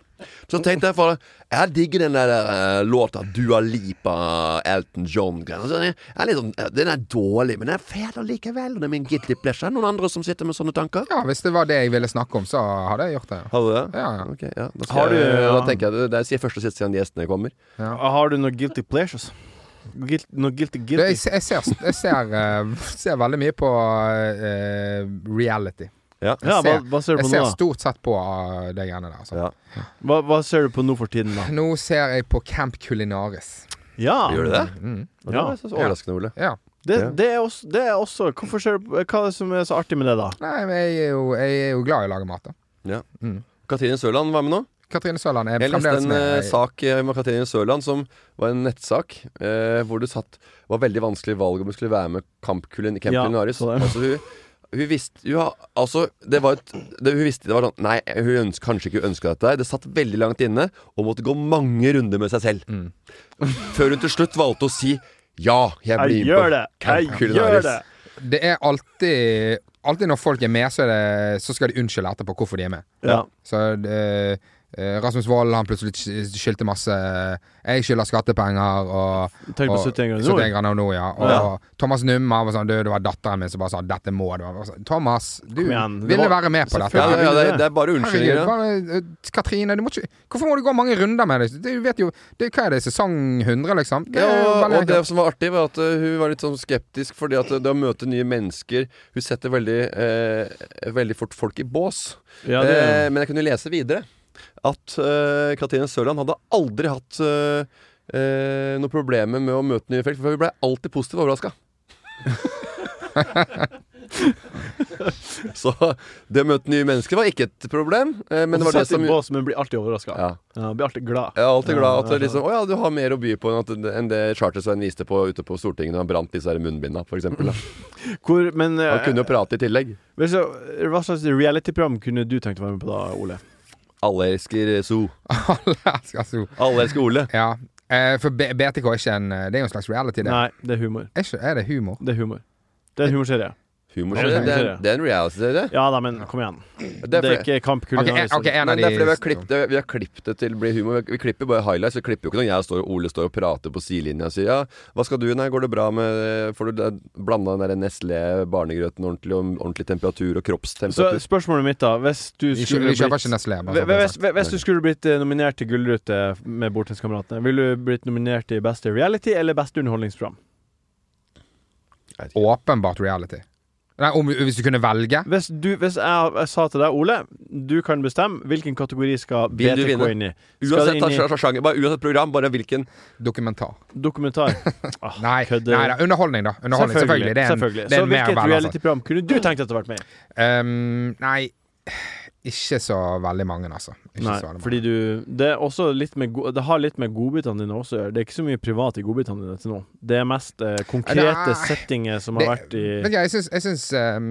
Så tenkte jeg for Jeg digger den der eh, låta Dua Lipa, Elton John-greia. Altså, den, er- jeg er litt sånn, eh, den er dårlig, men den er fet allikevel. Og det er min guilty pleasure. Er det noen andre som sitter med sånne tanker? Ja, hvis det var det jeg ville snakke om, så hadde jeg gjort det. Har du det? Ja, ja. Ok, ja. Da, Har skal jeg, du- ja. da tenker jeg det, det sier jeg først og sist siden gjestene kommer. Har du noen guilty pleasures? Guilt, noe guilty Du, jeg, guilty? se- jeg, ser, jeg ser, eh, [laughs] ser veldig mye på eh, reality. Ja. Ja, hva, ser- hva ser du Jeg på ser nå? da? stort sett på eh, det greiene der. Så. Ja. Hva, hva ser du på nå for tiden, [laughs] da? Nå ser jeg på Camp Culinaris. Ja, Gjør du det? Mm. Det Ja. var så overraskende, Ole. Ja. det, det, er også, det er også Hvorfor ser du på- Hva er det som er så artig med det, da? Nei, men jeg er, jo, jeg er jo glad i å lage mat, da. Mm. Katrine Sørland var med nå. Katrine Sørland er Jeg leste fremdeles en med. eh, Jeg- sak eh, med Katrine Sørland som var en nettsak eh, hvor det satt, var veldig vanskelig valg om hun skulle være med Camp Culin- Camp Ja, Culinaris. så det. Altså, hun, hun visste hun, har- altså, det var et, det, hun visste det var sånn Nei, hun øns- kanskje ikke ønska dette. her. Det satt veldig langt inne og måtte gå mange runder med seg selv. Mm. [laughs] Før hun til slutt valgte å si ja, jeg blir Jeg med på gjør det! Camp Jeg gjør Culinaris. det! Det er alltid Alltid når folk er med, så, er det, så skal de unnskylde etterpå hvorfor de er med. Ja. Så eh, eh, Rasmus Wold han plutselig sky- skyldte masse eh, Jeg skylder skattepenger og Tenk på og- 71 grader nord. 71 grader nord. Ja. Og Ja. Thomas Numma var sånn Du, det var datteren min som bare sa 'dette må du'. Jeg var sånn, Thomas, du Kom igjen, det ville var- være med på dette. Ja, ja, ja, det, det. det er bare unnskyldninger. Herregud, ja. bare, eh, Katrine, du må ikke Hvorfor må du gå mange runder med det? Du vet jo det, Hva er det, sesong 100, liksom? Det Ja, er jo og, veldig og det som var artig, var at eh, hun var litt sånn skeptisk fordi at eh, det å møte nye mennesker Hun setter veldig, eh, veldig fort folk i bås. Ja, det, eh, men jeg kunne lese videre at eh, Katrine Sørland hadde aldri hatt eh, eh, noe problemer med å møte nye folk, for hun ble alltid [laughs] positivt overraska. [laughs] Så det å møte nye mennesker var ikke et problem, eh, men det var det som Bås, men blir alltid overraska. ja. Ja, blir alltid glad. Jeg er alltid glad at Ja, det liksom, å ja, du har mer å by på enn, at, enn det Charter-Svein viste på ute på Stortinget da han brant disse her munnbinda, for eksempel. da. Hvor, men eh, Han kunne jo prate i tillegg. men så, Hva slags reality-program kunne du tenkt å være med på da, Ole? Alle elsker eh, Zoo. [laughs] Alle elsker Zoo. Alle elsker Ole. altså. Ja. eh, For B- BTK er ikke en eh, Det er jo en slags reality, det. Nei, det er humor. Er, ikke, er det humor? Det er humor. Det er en humorserie. Humor, Ja, det, det det, er er- det er en reality-serie. Ja da, men kom igjen. Det Det er er fordi- ikke Kamp Ok, Kulinaris. en- ok, en av Men det er de fordi vi har klippet det, vi har klippet det til å bli humor. Vi klipper bare highlights. Vi klipper jo ikke når jeg står, og Ole står og prater på sidelinja og sier ja, hva skal du Nei, går det bra med eh, Får du da blanda den der Nestlé-barnegrøten ordentlig, og ordentlig temperatur og Så kroppstemperatur? spørsmålet mitt, da. Hvis du Vi kjø- skulle vi kjøper blitt- ikke Nestlé. Hvis, bare sånn at det er hvis, sagt. hvis du skulle blitt eh, nominert til Gullrute med Bortenskameratene, ville du blitt nominert til beste reality eller beste underholdningsprogram? Åpenbart reality. Nei, om, hvis du kunne velge? Hvis, du, hvis jeg, jeg sa til deg, Ole, du kan bestemme hvilken kategori skal Vil du BTK vinne? inn i. Skal det Uansett, inn i sjanger, bare, uansett program, bare hvilken Dokumentar. dokumentar? [laughs] Ah, Nei, kødder. nei da, underholdning, da. Underholdning, selvfølgelig. Det er en, selvfølgelig. Det er Så en altså. mer hvilket veldig reality-program kunne du tenkt deg å vært med i? um, Nei, ikke så veldig mange, altså. Ikke Nei, så veldig mange. fordi du Det, er også litt med, go- det har litt med godbitene dine også å gjøre. Det er ikke så mye privat i godbitene dine til nå. Det er mest eh, konkrete Nei. settinger som har vært i Vet du hva, jeg syns, jeg syns ehm,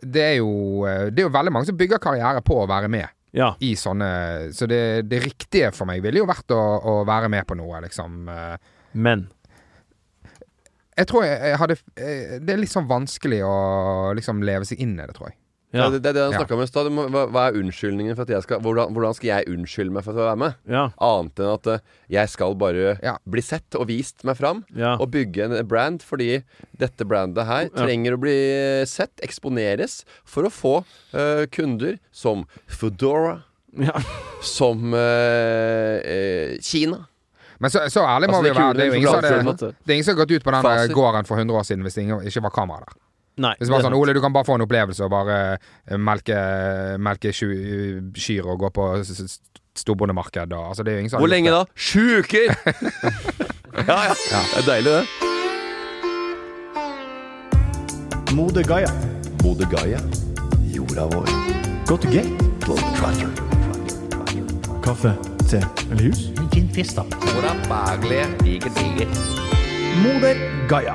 det, er jo, eh, det er jo veldig mange som bygger karriere på å være med Ja. i sånne Så det, det riktige for meg ville jo vært å, å være med på noe, liksom. eh. Men. Jeg tror jeg, jeg hadde eh, Det er litt sånn vanskelig å liksom leve seg inn i det, tror jeg. ja. Ja. Det, det er det han Ja. snakka om i stad. Du må- Hva, hva er unnskyldningen for at jeg skal hvordan, hvordan skal jeg unnskylde meg for å være med? Ja. Annet enn at eh, jeg skal bare Ja. bli sett og vist meg fram. ja. Å bygge en brand fordi dette brandet her Ja. trenger å bli sett, eksponeres, for å få eh, kunder som Foodora, ja. [laughs] som eh, eh, Kina. Men så, så ærlig må Altså, det vi jo være. kule Det er med jo ingen som sjokolade- hadde- det er ingen som har gått ut på den der Fasit. gården for 100 år siden hvis det ingen- ikke var kamera der. Nei. Hvis det var det er sånn sant. Ole, du kan bare få en opplevelse og bare eh, melke, melke sky- kyr og gå på s- s- storbondemarked og altså, det er jo ingen som har Hvor gjort lenge det. [laughs] da? Sju uker! [laughs] ja, ja. Det er deilig, det. Mode Gaia. Bodø Gaia. Jorda vår. Gå til gate. Kaffe, te eller hus? Moder Gaia.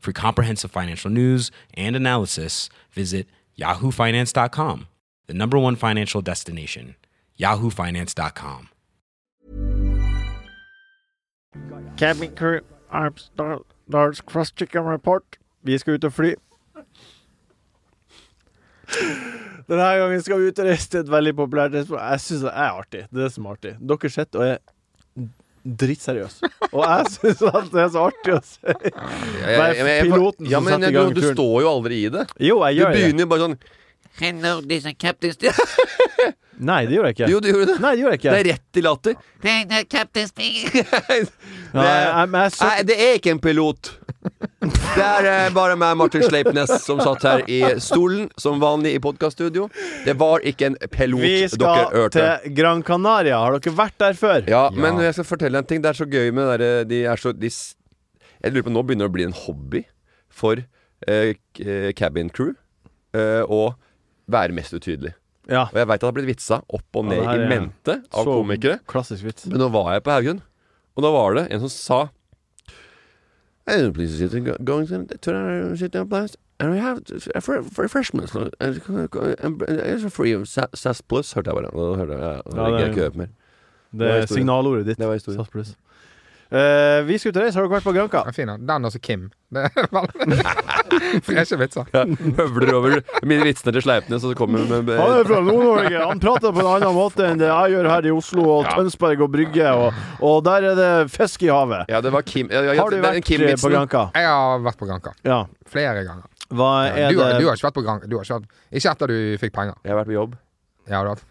For comprehensive financial news and analysis, visit yahoofinance.com, the number one financial destination, yahoofinance.com. Cabin crew, I'm Star Lars Cross Chicken Report. Vi skal ut og fly. [laughs] Denne gangen skal vi ut og reise til et veldig populært restaurant. Jeg syns det er artig. Det er det som er artig. Dere sitter og er drittseriøse. Og jeg syns at det er så artig å se. Jeg- jeg- jeg- jeg- piloten som ja, men satte i jeg- gang Du turen. står jo aldri i det. Jo, jeg Du gjør det. begynner jo bare sånn Hello, this is Captain Steve. Nei, det gjorde jeg ikke. Jo, du gjorde det. Nei, det gjorde jeg Det ikke. er rett i latter. Hey, no, Captain Steve. Nei, jeg, men jeg, Nei, det er ikke en pilot. Det er eh, bare meg, Martin Sleipnes, som satt her i stolen, som vanlig i podkaststudio. Det var ikke en pilot vi dere skal hørte. til Gran Canaria. Har dere vært der før? Ja, men jeg skal fortelle en ting. Det er så gøy med det derre De er så de, s- Jeg lurer på Nå begynner det å bli en hobby for eh, k- eh, cabin crew eh, å være mest utydelig. Ja. Og jeg veit det har blitt vitsa opp og ned Ja, det her i er- mente av Så komikere. Klassisk vits. Men nå var jeg på Haugen, og da var det en som sa I don't please sit and go- going to turn around and sit down blast. And we have uh, for, for refreshments. no, and It's free of Sa- SAS Plus, hørte jeg bare. Da hørte jeg, ja, da Ja, legger jeg det- ikke øret mer. Det var er historien. signalordet ditt. Det var [laughs] historien. SAS pluss. Eh, vi skal ut og reise. Har dere vært på Granca? Ja, fin, da. Den og så Kim. [laughs] Det er vel [laughs] Freshe vitser. Jeg høvler over mine vitsene til Sleipnes, og så kommer hun med Han er fra Nord-Norge. Han prater på en annen måte enn det jeg gjør her i Oslo og Tønsberg og Brygge, og, og der er det fisk i havet. Ja, det var Kim. Ja, ja, Har du det er vært Kim eh, vitsen. på Granca? Jeg har vært på Granka. Ja. Flere ganger. Hva Ja, er du, har, du har det ikke vært på Granka. Du har ikke, vært, ikke etter du fikk penger. Jeg har vært på jobb. Ja, du har hatt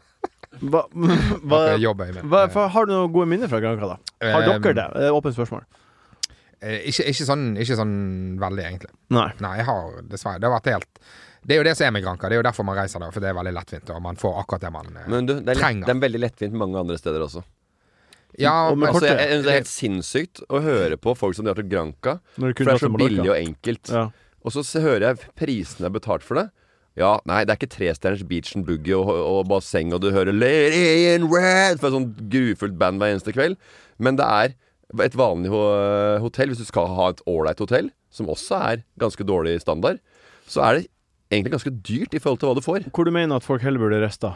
hva, [laughs] hva, [laughs] hatt jobb, Øyvind. hva, for Har du noen gode minner fra Granca, da? Har Eh, dere det? Det er et Åpent spørsmål. Eh, Ikke, ikke, sånn, ikke sånn veldig, egentlig. Nei. Nei, jeg har dessverre Det har vært helt Det er jo det som er med Granka. Det er jo derfor man reiser der, for det er veldig lettvint, og man får akkurat det man eh, Men du, det er, lett, Trenger. det er veldig lettvint mange andre steder også. Ja, og med men- Altså, kortet. jeg, jeg, synes det er helt sinnssykt å høre på folk som drar til Granca. Når du For kunne det er dratt til så Mallorca. billig og enkelt. Ja. Og så s- hører jeg prisene er betalt for det. Ja, nei, det er ikke trestjerners beach and boogie og, og basseng, og du hører Lady in Red fra et sånt grufullt band hver eneste kveld. Men det er et vanlig ho- hotell, hvis du skal ha et ålreit hotell, som også er ganske dårlig standard, så er det egentlig ganske dyrt i forhold til hva du får. Hvor du mener at folk heller burde reist, da?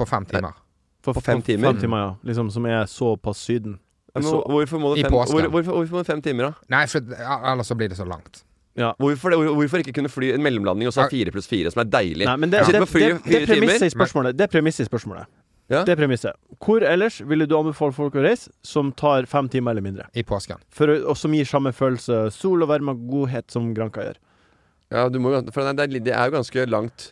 på fem timer. For- På fem for- timer? Fem timer ja. liksom, som er såpass Syden. Men hvor- hvorfor må I det fem, påsken. hvor, hvorfor, hvorfor må det fem timer, da? Nei, for ja, ellers så blir det så langt. Hvorfor, det, Hvor- hvorfor ikke kunne fly en mellomlanding og så ha fire pluss fire, som er deilig? Nei, men Du det, sitter det, på det, flyet det er fire timer. premisset i spørsmålet. Det er premisset i spørsmålet. Ja. Det er premisset. Hvor ellers ville du anbefale folk å reise som tar fem timer eller mindre? I påsken. For, å- og som gir samme følelse sol og varme og godhet som Granca gjør. Ja, du må, jo- for det er, det er jo ganske langt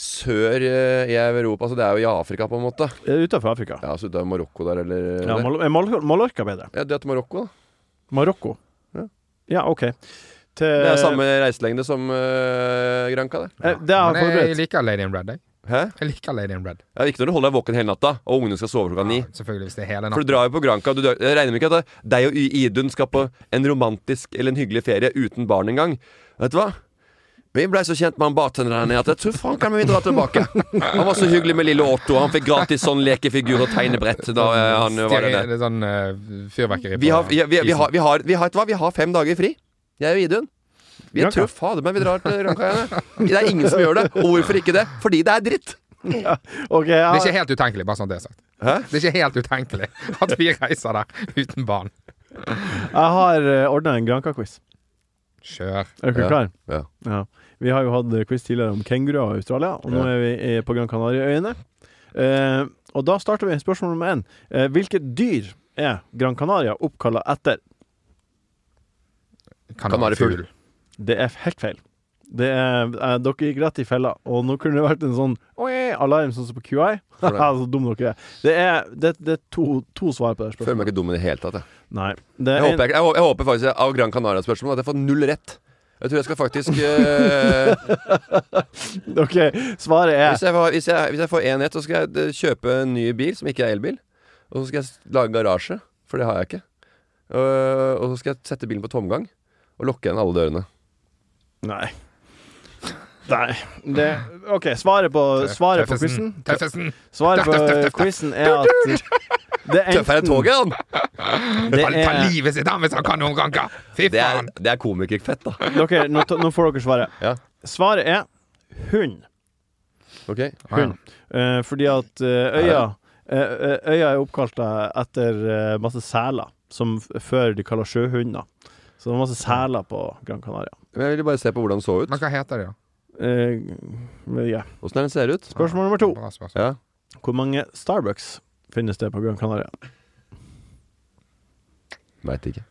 sør eh, i Europa. Altså, det er jo i Afrika, på en måte. Utafor Eh, Afrika. Ja, så ute av Marokko der, eller Ja, Mal er Mal- Mallorca bedre? ja, det er til Marokko, da. Marokko? Ja. Ja, OK. Til, Det er samme reiselengde som eh, Granca, det. eh, Det jeg har Men jeg, forberedt. jeg liker Lady in Red, jeg. Hæ? Jeg liker Lady in Red. Det er viktig når du holder deg våken hele natta, og ungene skal sove klokka ni. Selvfølgelig, hvis det er hele For natten. du drar jo på Granca. Du drar, jeg regner med ikke at det- deg og I- Idun skal på en romantisk eller en hyggelig ferie uten barn engang. Vet du hva? Vi blei så kjent med han bartenderen her nede at jeg tror faen kan vi dra tilbake. Han var så hyggelig med lille Otto. Han fikk gratis sånn lekefigur og tegnebrett da eh, han var der Styr- nede. det er sånn eh, fyrverkeri Vi har, på ja, vi, vi, isen. har, vi, har, vi, har, vet du hva? vi har fem dager fri. Jeg og Idun. Vi er Granca. tøffe fader, men vi drar til Granca. gjerne. Det er ingen som gjør det. Og hvorfor ikke det? Fordi det er dritt. Ok, jeg Det er har, ikke helt utenkelig, bare sånn det er sagt. Hæ? Det er ikke helt utenkelig [laughs] at vi reiser der uten barn. jeg har ordna eh, en Granca-quiz. Kjør. Er dere Ja. klare? Ja. Vi har jo hatt quiz tidligere om kenguruer i Australia, og nå Ja. er vi i- på Gran Canaria-øyene. Eh, og da starter vi spørsmål nummer én. Eh, hvilket dyr er Gran Canaria oppkalla etter? Kanarifugl. Det er helt feil. Det er, eh, dere gikk rett i fella, og nå kunne det vært en sånn «Oi!» alarm sånn som på QI. [laughs] For det. så dum dere er. Det er, det, det er to, to svar på det Føler meg spørsmålet. ikke dum i det hele tatt. Jeg, Nei. Det er jeg, en- håper, jeg, jeg, hå- jeg håper faktisk av Gran Canaria-spørsmålet at jeg får null rett. Jeg tror jeg skal faktisk eh, [laughs] OK, svaret er hvis, jeg, får- hvis, jeg, hvis jeg får én rett, så skal jeg eh, kjøpe en ny bil som ikke er elbil. Og så skal jeg s- lage garasje, for det har jeg ikke. Eh, og så skal jeg sette bilen på tomgang og lukke igjen alle dørene. Nei. Nei. Det, OK, svaret på, svaret på quizen Tøffesen. Svaret Tøff, tøff, tøff, på tøff. quizen er at det er Tøffere enn enten toget, han! [laughs] det Han tar er, livet sitt av hvis han kan noen ganger! Fy Det er, faen! det er komikerfett, da. dere, nå, ta- nå får dere svaret. Ja. Svaret er hund. Ok hund. Eh, fordi at eh, øya eh, Øya er oppkalt eh, etter eh, masse seler, som f- før de kaller sjøhunder. Så det var masse seler på Gran Canaria. Men Jeg ville bare se på hvordan den så ut. Men hva heter det, da? Eh, men ja. Åssen er den ser ut? Spørsmål nummer to. Bra spørsmål. Ja. Hvor mange Starbucks finnes det på Gran Canaria? Veit ikke.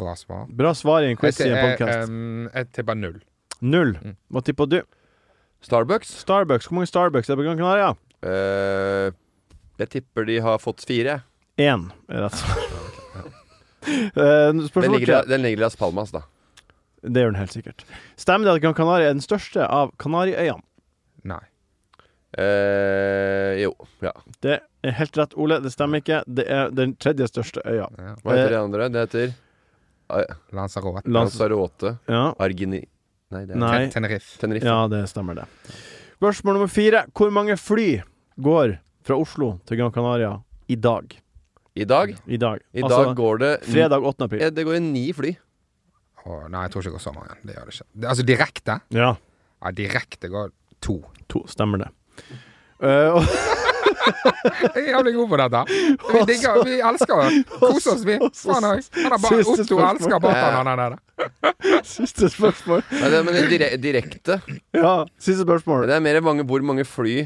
Bra svar. Bra svar i en quiz i en Jeg- jeg- podkast. em, Jeg tipper null. Null. Hva tipper du? Starbucks? Starbucks. Hvor mange Starbucks er det på Gran Canaria? Eh, jeg tipper de har fått fire. Én er rett svar. [laughs] Eh, Den Spørsmål ligger, tre. den ligger i Las Palmas, da. Det gjør den helt sikkert. Stemmer det at Gran Canaria er den største av Kanariøyene? Nei. Eh, jo. Ja. Det er helt rett, Ole. Det stemmer ikke. Det er den tredje største øya. Ja. Hva Eh, heter det andre? Det heter Lanzarote. Lans- Lanzarote. Ja. Argini... Nei, det er Nei. Ten- Tenerife. Tenerife. ja, det stemmer, det. Spørsmål nummer fire. Hvor mange fly går fra Oslo til Gran Canaria i dag? I dag I dag. I altså, dag går det fredag 8. april. Ja, Det går i ni fly. Å, nei, jeg tror ikke det går så mange. Det gjør det ikke. Det- Altså direkte? Ja, Ja, direkte går to. to. Stemmer det. Eh, [laughs] og Jeg er jævlig god på dette. [laughs] Vi digger, vi elsker å kose oss, vi. Faen òg. Han er bare Siste Otto spørsmål. elsker Batan, han er der. siste spørsmål. Nei, det, men dire direkte. Ja, siste spørsmål. Det er mer mange, hvor mange fly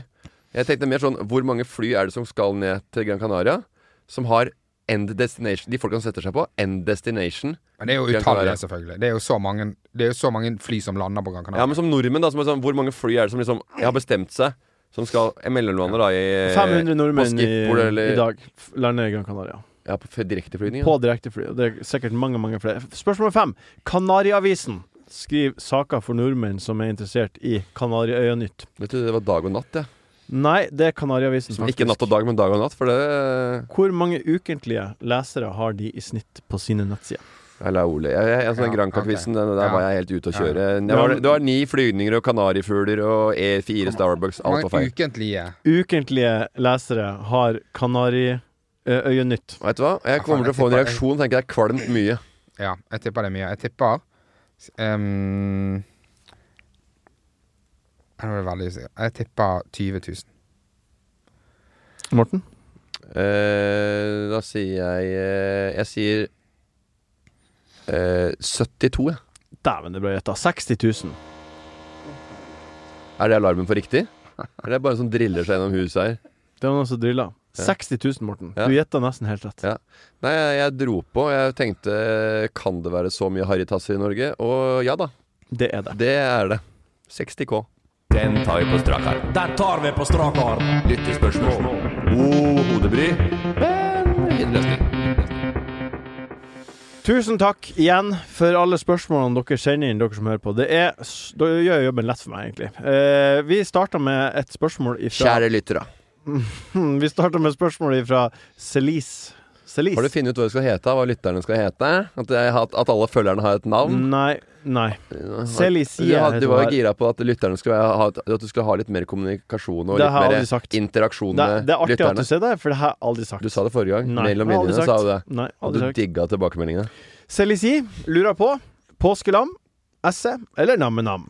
Jeg tenkte mer sånn Hvor mange fly er det som skal ned til Gran Canaria? Som har end destination De folkene som setter seg på end destination. Men det er jo Gran Canaria. utallige, selvfølgelig. Det er jo så mange, det er jo så mange fly som lander på Ja, Gran Canaria. men som nordmenn, da. Som er sånn, hvor mange fly er det som liksom har bestemt seg? Som skal Jeg mellomlander, da, i 500 på nordmenn i, Schiphol Eh, eller, i dag f- lander i Gran Canaria. Ja, på f- direkteflygning. På Ja. direktefly. og Det er sikkert mange, mange flere. Spørsmål nummer fem. Kanariavisen skriver saker for nordmenn som er interessert i Kanariøya-nytt. Vet du, det var dag og natt, jeg. Nei, det er Kanariavisen. Ja. Ikke natt og dag, men dag og natt. For det eh, Hvor mange ukentlige lesere har de i snitt på sine nettsider? Eller Ole. Jeg, jeg, altså, den Ja, Granca-quizen, den der Ja. var jeg helt ute å Ja. kjøre. Det Ja, var, men- det var ni flygninger og kanarifugler og E4 Starbucks. Hvor Alt var feil. mange ukentlige Ukentlige lesere har Kanariøya-nytt. Vet du hva? Jeg kommer til å få en reaksjon. Tenker jeg er kvalmt mye. Ja, jeg tipper det er mye. Jeg tipper um, Nå er det veldig usikker. Jeg tipper 20 000. Morten? Eh, da sier jeg eh, Jeg sier eh, 72, jeg. Dæven, det er bra gjetta. 60 000. Er det alarmen for riktig? Eller er det bare en som driller seg gjennom huset her? Det var noen som drilla. 60 000, Morten. Ja. Du gjetta nesten helt rett. Ja. Nei, jeg, jeg dro på. Jeg tenkte kan det være så mye harrytasser i Norge? Og ja da, Det er det. det er det. 60 K. Den tar vi på strak arm. Den tar vi på strak arm. Lyttespørsmål. God hodebry. Tusen takk igjen for alle spørsmålene dere sender inn, dere som hører på. Det er, s- Dere gjør jobben lett for meg, egentlig. Eh, vi starter med et spørsmål [laughs] ifra Hmm, Kjære lyttere. Vi starter med et spørsmål ifra Celise. Celise? Har du funnet ut hva det skal hete? Hva lytterne skal hete? At, jeg, har- at alle følgerne har et navn? Nei. Nei. Celise Du, har- du var heter jo gira på at lytterne skulle ha, at du skulle ha litt mer kommunikasjon og Det har jeg litt aldri mer sagt. interaksjon det, med det er artig at lytterne. du sier det, for det har jeg aldri sagt. Du sa det forrige gang. Nei, Mellom jeg har aldri linjene sagt. sa du det. Nei, Og aldri du sagt. digga tilbakemeldingene. Celise lurer på påskelam, esse eller namme-nam.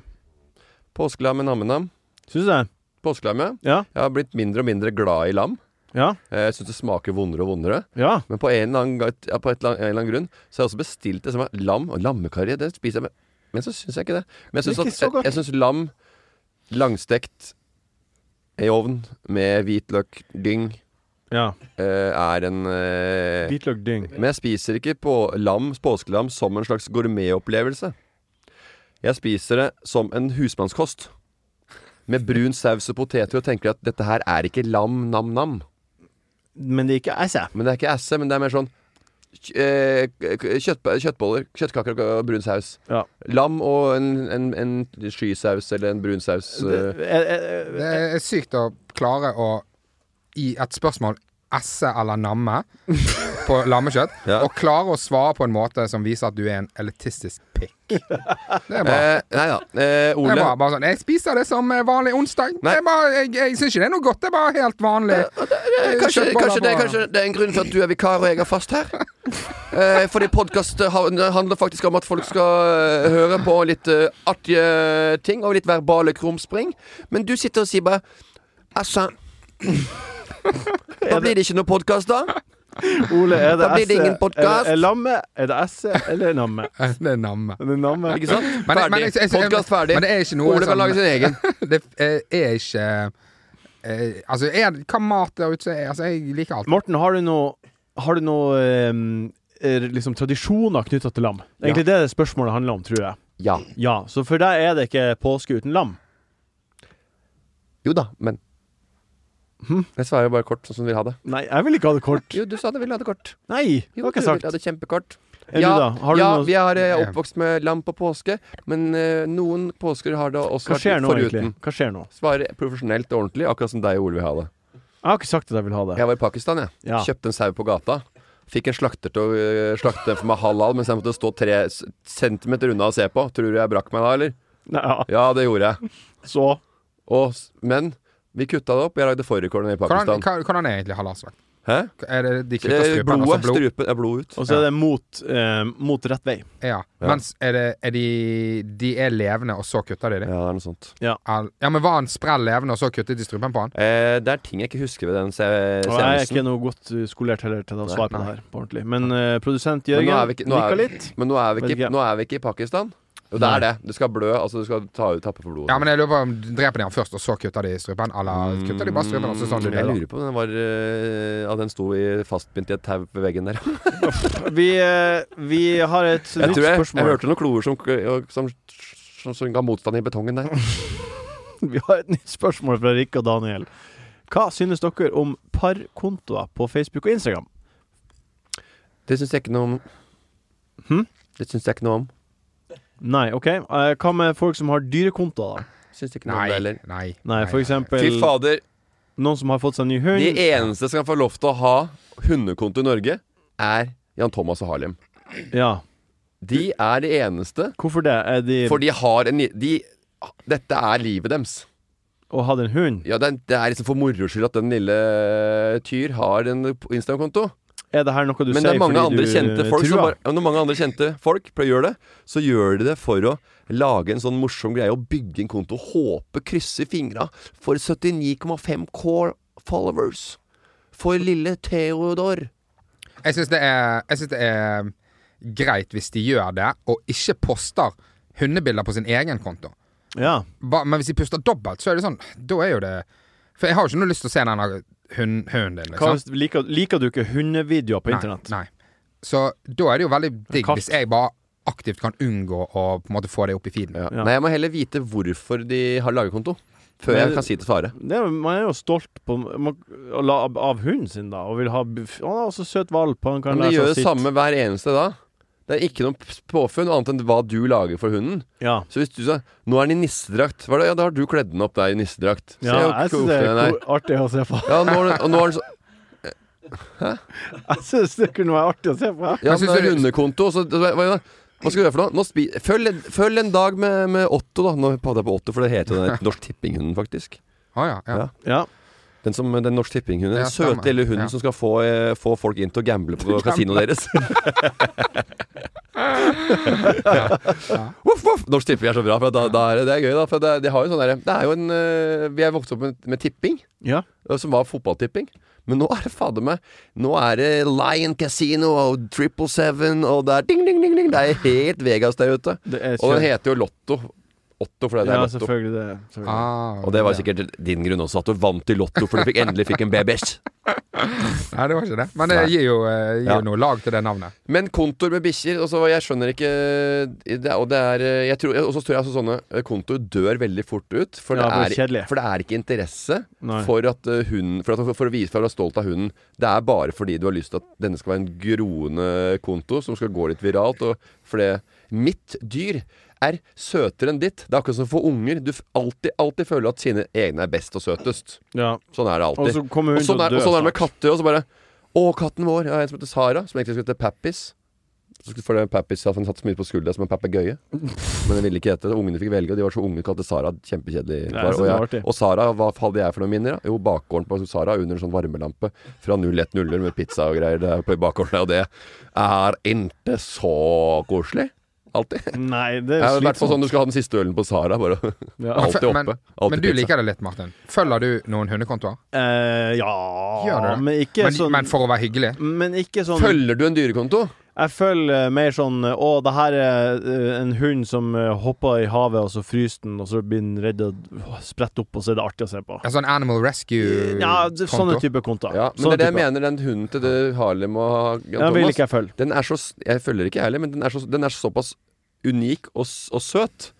Påskelam med nammenam. Syns du det? Påskelam, ja. Ja. Jeg har blitt mindre og mindre glad i lam. Ja. Eh, Jeg syns det smaker vondere og vondere. ja. Men på en eller annen, ga- ja, på et eller annet, en eller annen grunn så har jeg også bestilt det som er lam. Og lammekarri, det spiser jeg med Men så syns jeg ikke det. Men Det jeg er ikke syns så jeg, godt. jeg synes lam langstekt i ovn med hvitløk, dyng eh, er en eh, Hvitløk, dyng. Men jeg spiser ikke på lam, påskelam som en slags gourmetopplevelse. Jeg spiser det som en husmannskost. Med brun saus og poteter og tenker at dette her er ikke lam, nam-nam. Men det er ikke esse. Men det er ikke esse, men det er mer sånn k- eh, k- kjøttb- kjøttboller, kjøttkaker og brun saus. Lam og en, en, en skysaus eller en brun saus. eh. Det er sykt å klare å i et spørsmål esse eller [laughs] namme på lammekjøtt, og klare å svare på en måte som viser at du er en elitistisk pikk. [laughs] Det er bra. Eh, nei da. Eh, Det Ole er bare, bare sånn, jeg spiser det som eh, vanlig onsdag. Det er bare, jeg jeg syns ikke det er noe godt. Det er bare helt vanlig. eh, Kanskje, kjøttboller kanskje, det, på- kanskje det er en grunn for at du er vikar og jeg er fast her. Eh, fordi podkast handler faktisk om at folk skal eh, høre på litt eh, artige ting og litt verbale krumspring. Men du sitter og sier bare Æsja. Da blir det ikke noe podkast, da. Ole, er det Da blir det esse? ingen podcast. Er, er lamme, er det esse eller namme? [laughs] Det er namme. Det er namme. Ikke sant? Men- men- Ferdig. jeg- jeg- jeg- Podcast ferdig. Men det er ikke noe Ole kan som- lage sin egen. det eh, er ikke eh, Altså, er, hva mat der ute er Altså, jeg liker alt. Morten, har du noe, har du noe eh, er liksom tradisjoner knytta til lam? Det er Egentlig det det spørsmålet handler om, tror jeg. [laughs] Ja. Ja, Så for deg er det ikke påske uten lam? Jo da, men Jeg svarer bare kort, sånn som du vil ha det. Nei, jeg vil ikke ha det kort. Hm? Jo, du sa du ville ha det kort. [laughs] Nei, det Jo, var ikke du sagt. ville ha det kjempekort. Enn du da? Har du ja noe- vi er, eh, Ja. oppvokst med lam på påske, men eh, noen påsker har det også Hva skjer vært nå, foruten. egentlig? Hva skjer nå? Svarer profesjonelt og ordentlig, akkurat som deg og Ole vil ha det. Jeg har ikke sagt at jeg vil ha det. Jeg var i Pakistan, jeg. Ja. Kjøpte en sau på gata. Fikk en slakter til å eh, slakte den for meg halal, mens jeg måtte stå tre s- centimeter unna og se på. Tror du jeg brakk meg da, eller? [laughs] Ja, Ja, det gjorde jeg. så Og, s- men vi kutta det opp. Jeg lagde fårrekorden i Hvordan, Pakistan. hva- hvordan er egentlig halalslakt? Hæ? Er det de Det er kutter strupen, blodet, altså blod? strupen, er blod ut. Og så er det mot, eh, mot rett vei. Ja. Ja. Mens er det er de, de er levende, og så kutter de dem? Ja, det er noe sånt. Ja. Al- ja, men var han sprell levende, og så kuttet de strupen på han? Eh, det er ting jeg ikke husker ved den se Og jeg er seansen. ikke noe godt uh, skolert heller til å Nei, svare på det nei. her på ordentlig. Men eh, produsent Men nå er Jørgen vi ikke- nå er nikka vi- litt. Men nå er vi Vet ikke, ikke. nå er vi ikke i Pakistan. Jo, det Nei. er det. Du skal blø, altså du skal ta ut tappe for blodet. Ja, men jeg lurer på om Dreper de han først, og så kutter de strupen? Eller kutter de bare strupen, og så sånn du Mm, jeg det? da? lurer på om den var eh, At den sto i fastbindt i et tau ved [laughs] veggen der. Vi, eh, vi har et Jeg nytt tror jeg, jeg spørsmål. hørte noen kloer som, og- som, som, som ga motstand i betongen der. [laughs] Vi har et nytt spørsmål fra Rikke og Daniel. Hva synes dere om parkontoer på Facebook og Instagram? Det syns jeg ikke noe om. Hm? Det syns jeg ikke noe om. Nei, OK. Eh, Hva med folk som har dyrekontoer, da? Syns ikke noe om det Nei, heller. nei. Nei, for Fy eksempel fader. noen som har fått seg ny hund. De eneste som kan få lov til å ha hundekonto i Norge, er Jan Thomas og Harlem. Ja. De er de eneste Hvorfor det? Er de For de har en de, Dette er livet deres. å ha en hund? Ja, det, er- det er liksom for moro skyld at den lille Tyr har en Instagram-konto. Er det her noe du Men det sier er mange fordi andre du kjente eh, folk som truer? bare, ja, Når mange andre kjente folk prøver å gjøre det, så gjør de det for å lage en sånn morsom greie og bygge en konto. Håpe, krysse fingra for 79,5 core followers. For lille Theodor. Jeg syns det, er- jeg synes det er greit hvis de gjør det, og ikke poster hundebilder på sin egen konto. Ja. Ba, men hvis de puster dobbelt, så er det sånn Da er jo det For jeg har jo ikke noe lyst til å se den der hund, hunden Hva, din, liksom. hvis- liker, liker du ikke hundevideoer på internett? Nei, nei. Så da er det jo veldig digg Kast. hvis jeg bare aktivt kan unngå å på en måte få det opp i feeden. Ja. Nei, jeg må heller vite hvorfor de har laget konto. Før Men- jeg kan si til Svare. Det, er- man er jo stolt på, man, å la- av, av hunden sin, da, og vil ha b- f- Å, han er også søt valp. Han kan Men de lære gjør seg det sitt. samme hver eneste da. Det er ikke noe p- påfunn annet enn hva du lager for hunden. Ja. Så hvis du sa 'nå er den i nissedrakt', hva er det? ja, da har du kledd den opp der i nissedrakt. Se ja hvor jeg syns koselig det er den er. ko- artig å se på. Ja, nå er den, og nå er den så, Jeg syns det kunne være artig å se på. ja, Men synes men det er du- hundekonto, og så hva, hva, hva skal du gjøre for noe? Nå spi, følg, en- følg en dag med, med Otto, da. Nå padder jeg på Otto, for det heter jo den Norsk Tippinghunden, faktisk. Å ja, ja. Ja. Ja. Den, som, den norsk tippinghunden. Ja, Den søte stemmer. lille hunden Ja. [laughs] [laughs] som skal få, eh, få folk inn til å gamble på kasinoet deres. Voff, voff. Norsk Tipping er så bra, for da, da er det, det er gøy. Da, for det, de har jo sånn derre- det er jo en øh, Vi er vokst opp med, med tipping, øh, som var fotballtipping. Men nå er det fader meg Nå er det Lion Casino og Triple Seven og det er ding, ding, ding, ding. Det er helt Vegas der ute. er Og den kjø- heter jo Lotto. Otto fordi det er Ja, Lotto. selvfølgelig det. Selvfølgelig. Ah. og det var sikkert din grunn også, at du vant i Lotto fordi du fikk, endelig fikk en babys. Nei, det var ikke det. Men det Nei. gir jo, eh, gir jo Ja. noe lag til det navnet. Men kontor med bikkjer og så- Jeg skjønner ikke eh, det, er- Og det er jeg tror, Og så tror jeg altså sånne eh, kontor dør veldig fort ut. For, Ja, for det, det er er, kjedelig. for det er ikke interesse Nei. for at eh, hunden for, at, for å vise for å være stolt av hunden. Det er bare fordi du har lyst til at denne skal være en groende konto som skal gå litt viralt. Og for det Mitt dyr er søtere enn ditt. Det er akkurat som for unger. Du f- alltid, alltid føler at sine egne er best og søtest. Ja. Sånn er det alltid. Og så kommer hun Og sånn til å er, og dø sånn er det med katter. Og så bare Å, katten vår! Jeg har en som heter Sara, som egentlig skulle hete Pappis. Så skulle- For det Pappis hadde satt så mye på skuldra som en papegøye. Men jeg ville ikke hete det. Ungene fikk velge, og de var så unge at kalte Sara Nei, kjempekjedelig. kar. så og, det var og Sara, hva hadde jeg for noen minner? da? Jo, bakgården på Sara under en sånn varmelampe fra 01.00 med pizza og greier der på bakgården. Og det er ikke så koselig. Alltid. Nei, I det er hvert fall slitsomt. sånn du skal ha den siste ølen på Sara. Bare Ja. [laughs] alltid Men, oppe. Alltid men du pizza. liker det litt, Martin. Følger du noen hundekontoer? Eh, ja, Gjør du det? men ikke men, sånn men for å være hyggelig? Men ikke sånn Følger du en dyrekonto? Jeg følger mer sånn Å, det her er eh, en hund som eh, hopper i havet, og så fryser den, og så blir den redd og åh, spretter opp, og så er det artig å se på. Ja, sånn Animal Rescue-konto? Ja, det- sånne Sånn type kontoer. Ja, men Sånne det er det jeg typer. mener den hunden til det Harlem og Ja, vil ikke jeg følge. Den er så, s- jeg følger ikke jeg heller, men den er, så, den er såpass unik og, s- og søt.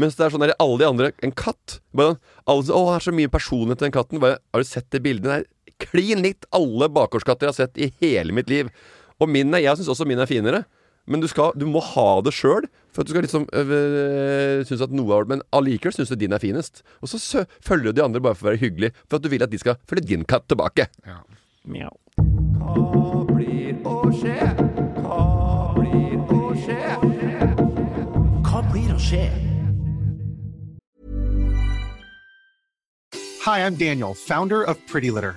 Mens det er sånn der, alle de andre En katt. Bare, sånn, alle, så- å, det er så mye personlighet til den katten. Bare, har du sett det bildet? Den er klin likt alle bakgårdskatter jeg har sett i hele mitt liv. Og min er, jeg syns også min er finere. Men du, skal, du må ha det sjøl for at du skal liksom øh, synes at noe er Men allikevel syns du din er finest. Og så sø, følger du de andre bare for å være hyggelig, for at du vil at de skal følge din katt tilbake. Mjau. Hva blir å skje? Hi, I'm Daniel, founder of Pretty Litter.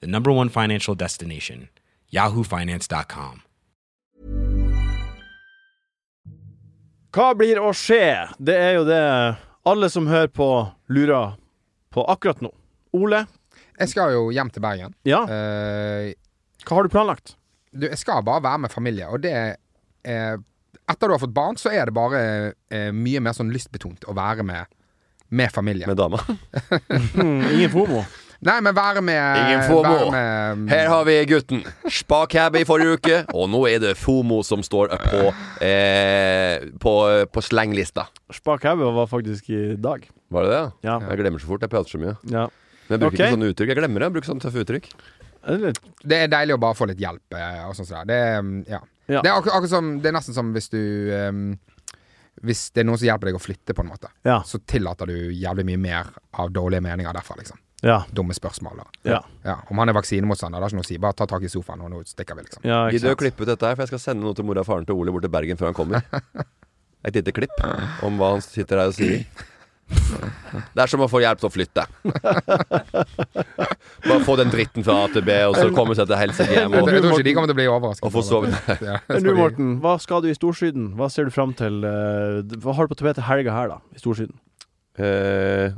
the number one financial destination, yahoofinance.com. Hva blir å skje? Det er jo det alle som hører på, lurer på akkurat nå. Ole? Jeg skal jo hjem til Bergen. Ah. Ja. Hva har du planlagt? Du, jeg skal bare være med familie, og det eh, Etter du har fått barn, så er det bare eh, mye mer sånn lystbetont å være med, med familie. Med dama? Hmm, ingen fomo? Nei, men være med Ingen FOMO. være med- Her har vi gutten. Spakab i forrige uke, og nå er det FOMO som står på, eh, på, på slenglista. Spakhauge var faktisk i dag. Var det det? Ja. Jeg glemmer så fort. Jeg prater så mye. Ja. Men jeg bruker Ok. ikke sånne uttrykk. Jeg glemmer det. Jeg bruker sånne tøffe uttrykk. Det er deilig å bare få litt hjelp eh, og sånn som det. Det, er, mm, ja. Ja. det er akkurat, akkurat som Det er nesten som hvis du ehm, Hvis det er noen som hjelper deg å flytte, på en måte, Ja. så tillater du jævlig mye mer av dårlige meninger derfra, liksom. Ja. Dumme spørsmål. og- Ja. Om han er vaksinemotstander, det er ikke noe å si. Bare ta tak i sofaen, og nå stikker vi, liksom. Ja, ikke Gidder du å sant. klippe ut dette her, for jeg skal sende noe til mora og faren til Ole bort til Bergen før han kommer. Et lite klipp om hva han sitter her og sier. Det er som å få hjelp til å flytte. Bare få den dritten fra A til B, og så komme seg til helsike hjem. Jeg tror ikke de kommer til å bli overrasket. Og få sove. [laughs] Men Du, Morten, hva skal du i Storsiden? Hva ser du fram til? eh, Hva har du på tapetet helga her, da? I Storsiden? Eh,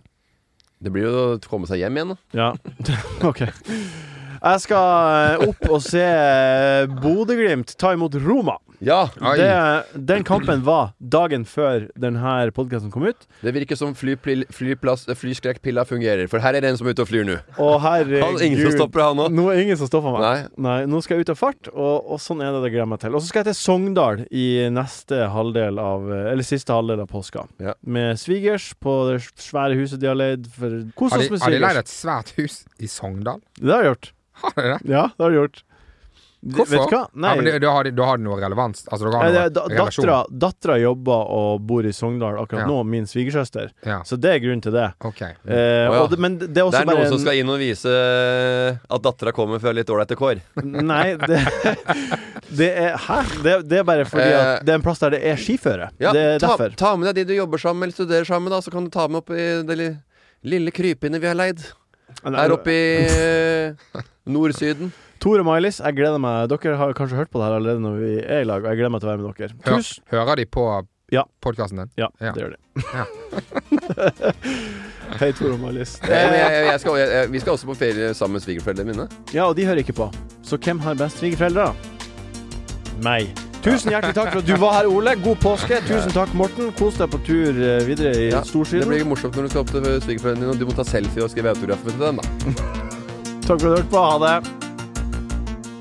det blir jo å komme seg hjem igjen, da. Ja, [laughs] ok. Jeg skal eh, opp og se eh, Bodø-Glimt ta imot Roma. Ja. Det, den kampen var dagen før denne podkasten kom ut. Det virker som flypil- flyplass- flyskrekkpilla eh, fungerer, for her er det en som er ute og flyr nå. Og [laughs] herregud Han- ingen som stopper han nå. er ingen som stopper meg. Nei. Nå skal jeg ut av fart, og, og sånn er det det gleder jeg meg til. Og så skal jeg til Sogndal i neste halvdel av Eller siste halvdel av påska. Med svigers på det svære huset de har leid. For kos Har de, oss med har de leid svigers. et svært hus i Sogndal? [laughs] Det har jeg gjort. Har de det? Ja, det har de gjort. De- Hvorfor? Vet du hva? Nei, ja, men det, da, har de, da har de noe relevans. Altså, da har de Nei, noe det er da- relasjon. dattera, dattera jobber og bor i Sogndal akkurat Ja. nå, min svigersøster. Ja. Så det er grunnen til det. Eh, Å ja. og det, men det det er også det er noen bare som en- skal inn og vise eh, at dattera kommer fra litt ålreite kår. Nei, [laughs] det, det er Hæ? Det, det er bare fordi Eh. at det er en plass der det er skiføre. Ja, det er ta, derfor. ta med deg de du jobber sammen med eller studerer sammen med, da, så kan du ta med opp i det li- lille krypinnet vi har leid. Nei, Her det- oppe i nord-syden. Tor og Miley's, jeg gleder meg. Dere har kanskje hørt på det her allerede når vi er i lag, og jeg gleder meg til å være med dere. Hør, Tusen- hører de på ja. podkasten din? Ja, det gjør de. Ja. [laughs] Hei, Tor og Miley's. Eh, men jeg, jeg, jeg skal, jeg, jeg, vi skal også på ferie sammen med svigerforeldrene mine. Ja, og de hører ikke på. Så hvem har best svigerforeldre? Meg. Tusen hjertelig takk for at du var her, Ole. God påske. Tusen takk, Morten. Kos deg på tur eh, videre i Ja, det Storsiden. blir morsomt når du skal opp til svigerforeldrene dine, og du må ta selfie og skrive autografer til dem, da. Takk for at du hørte på. Ha det.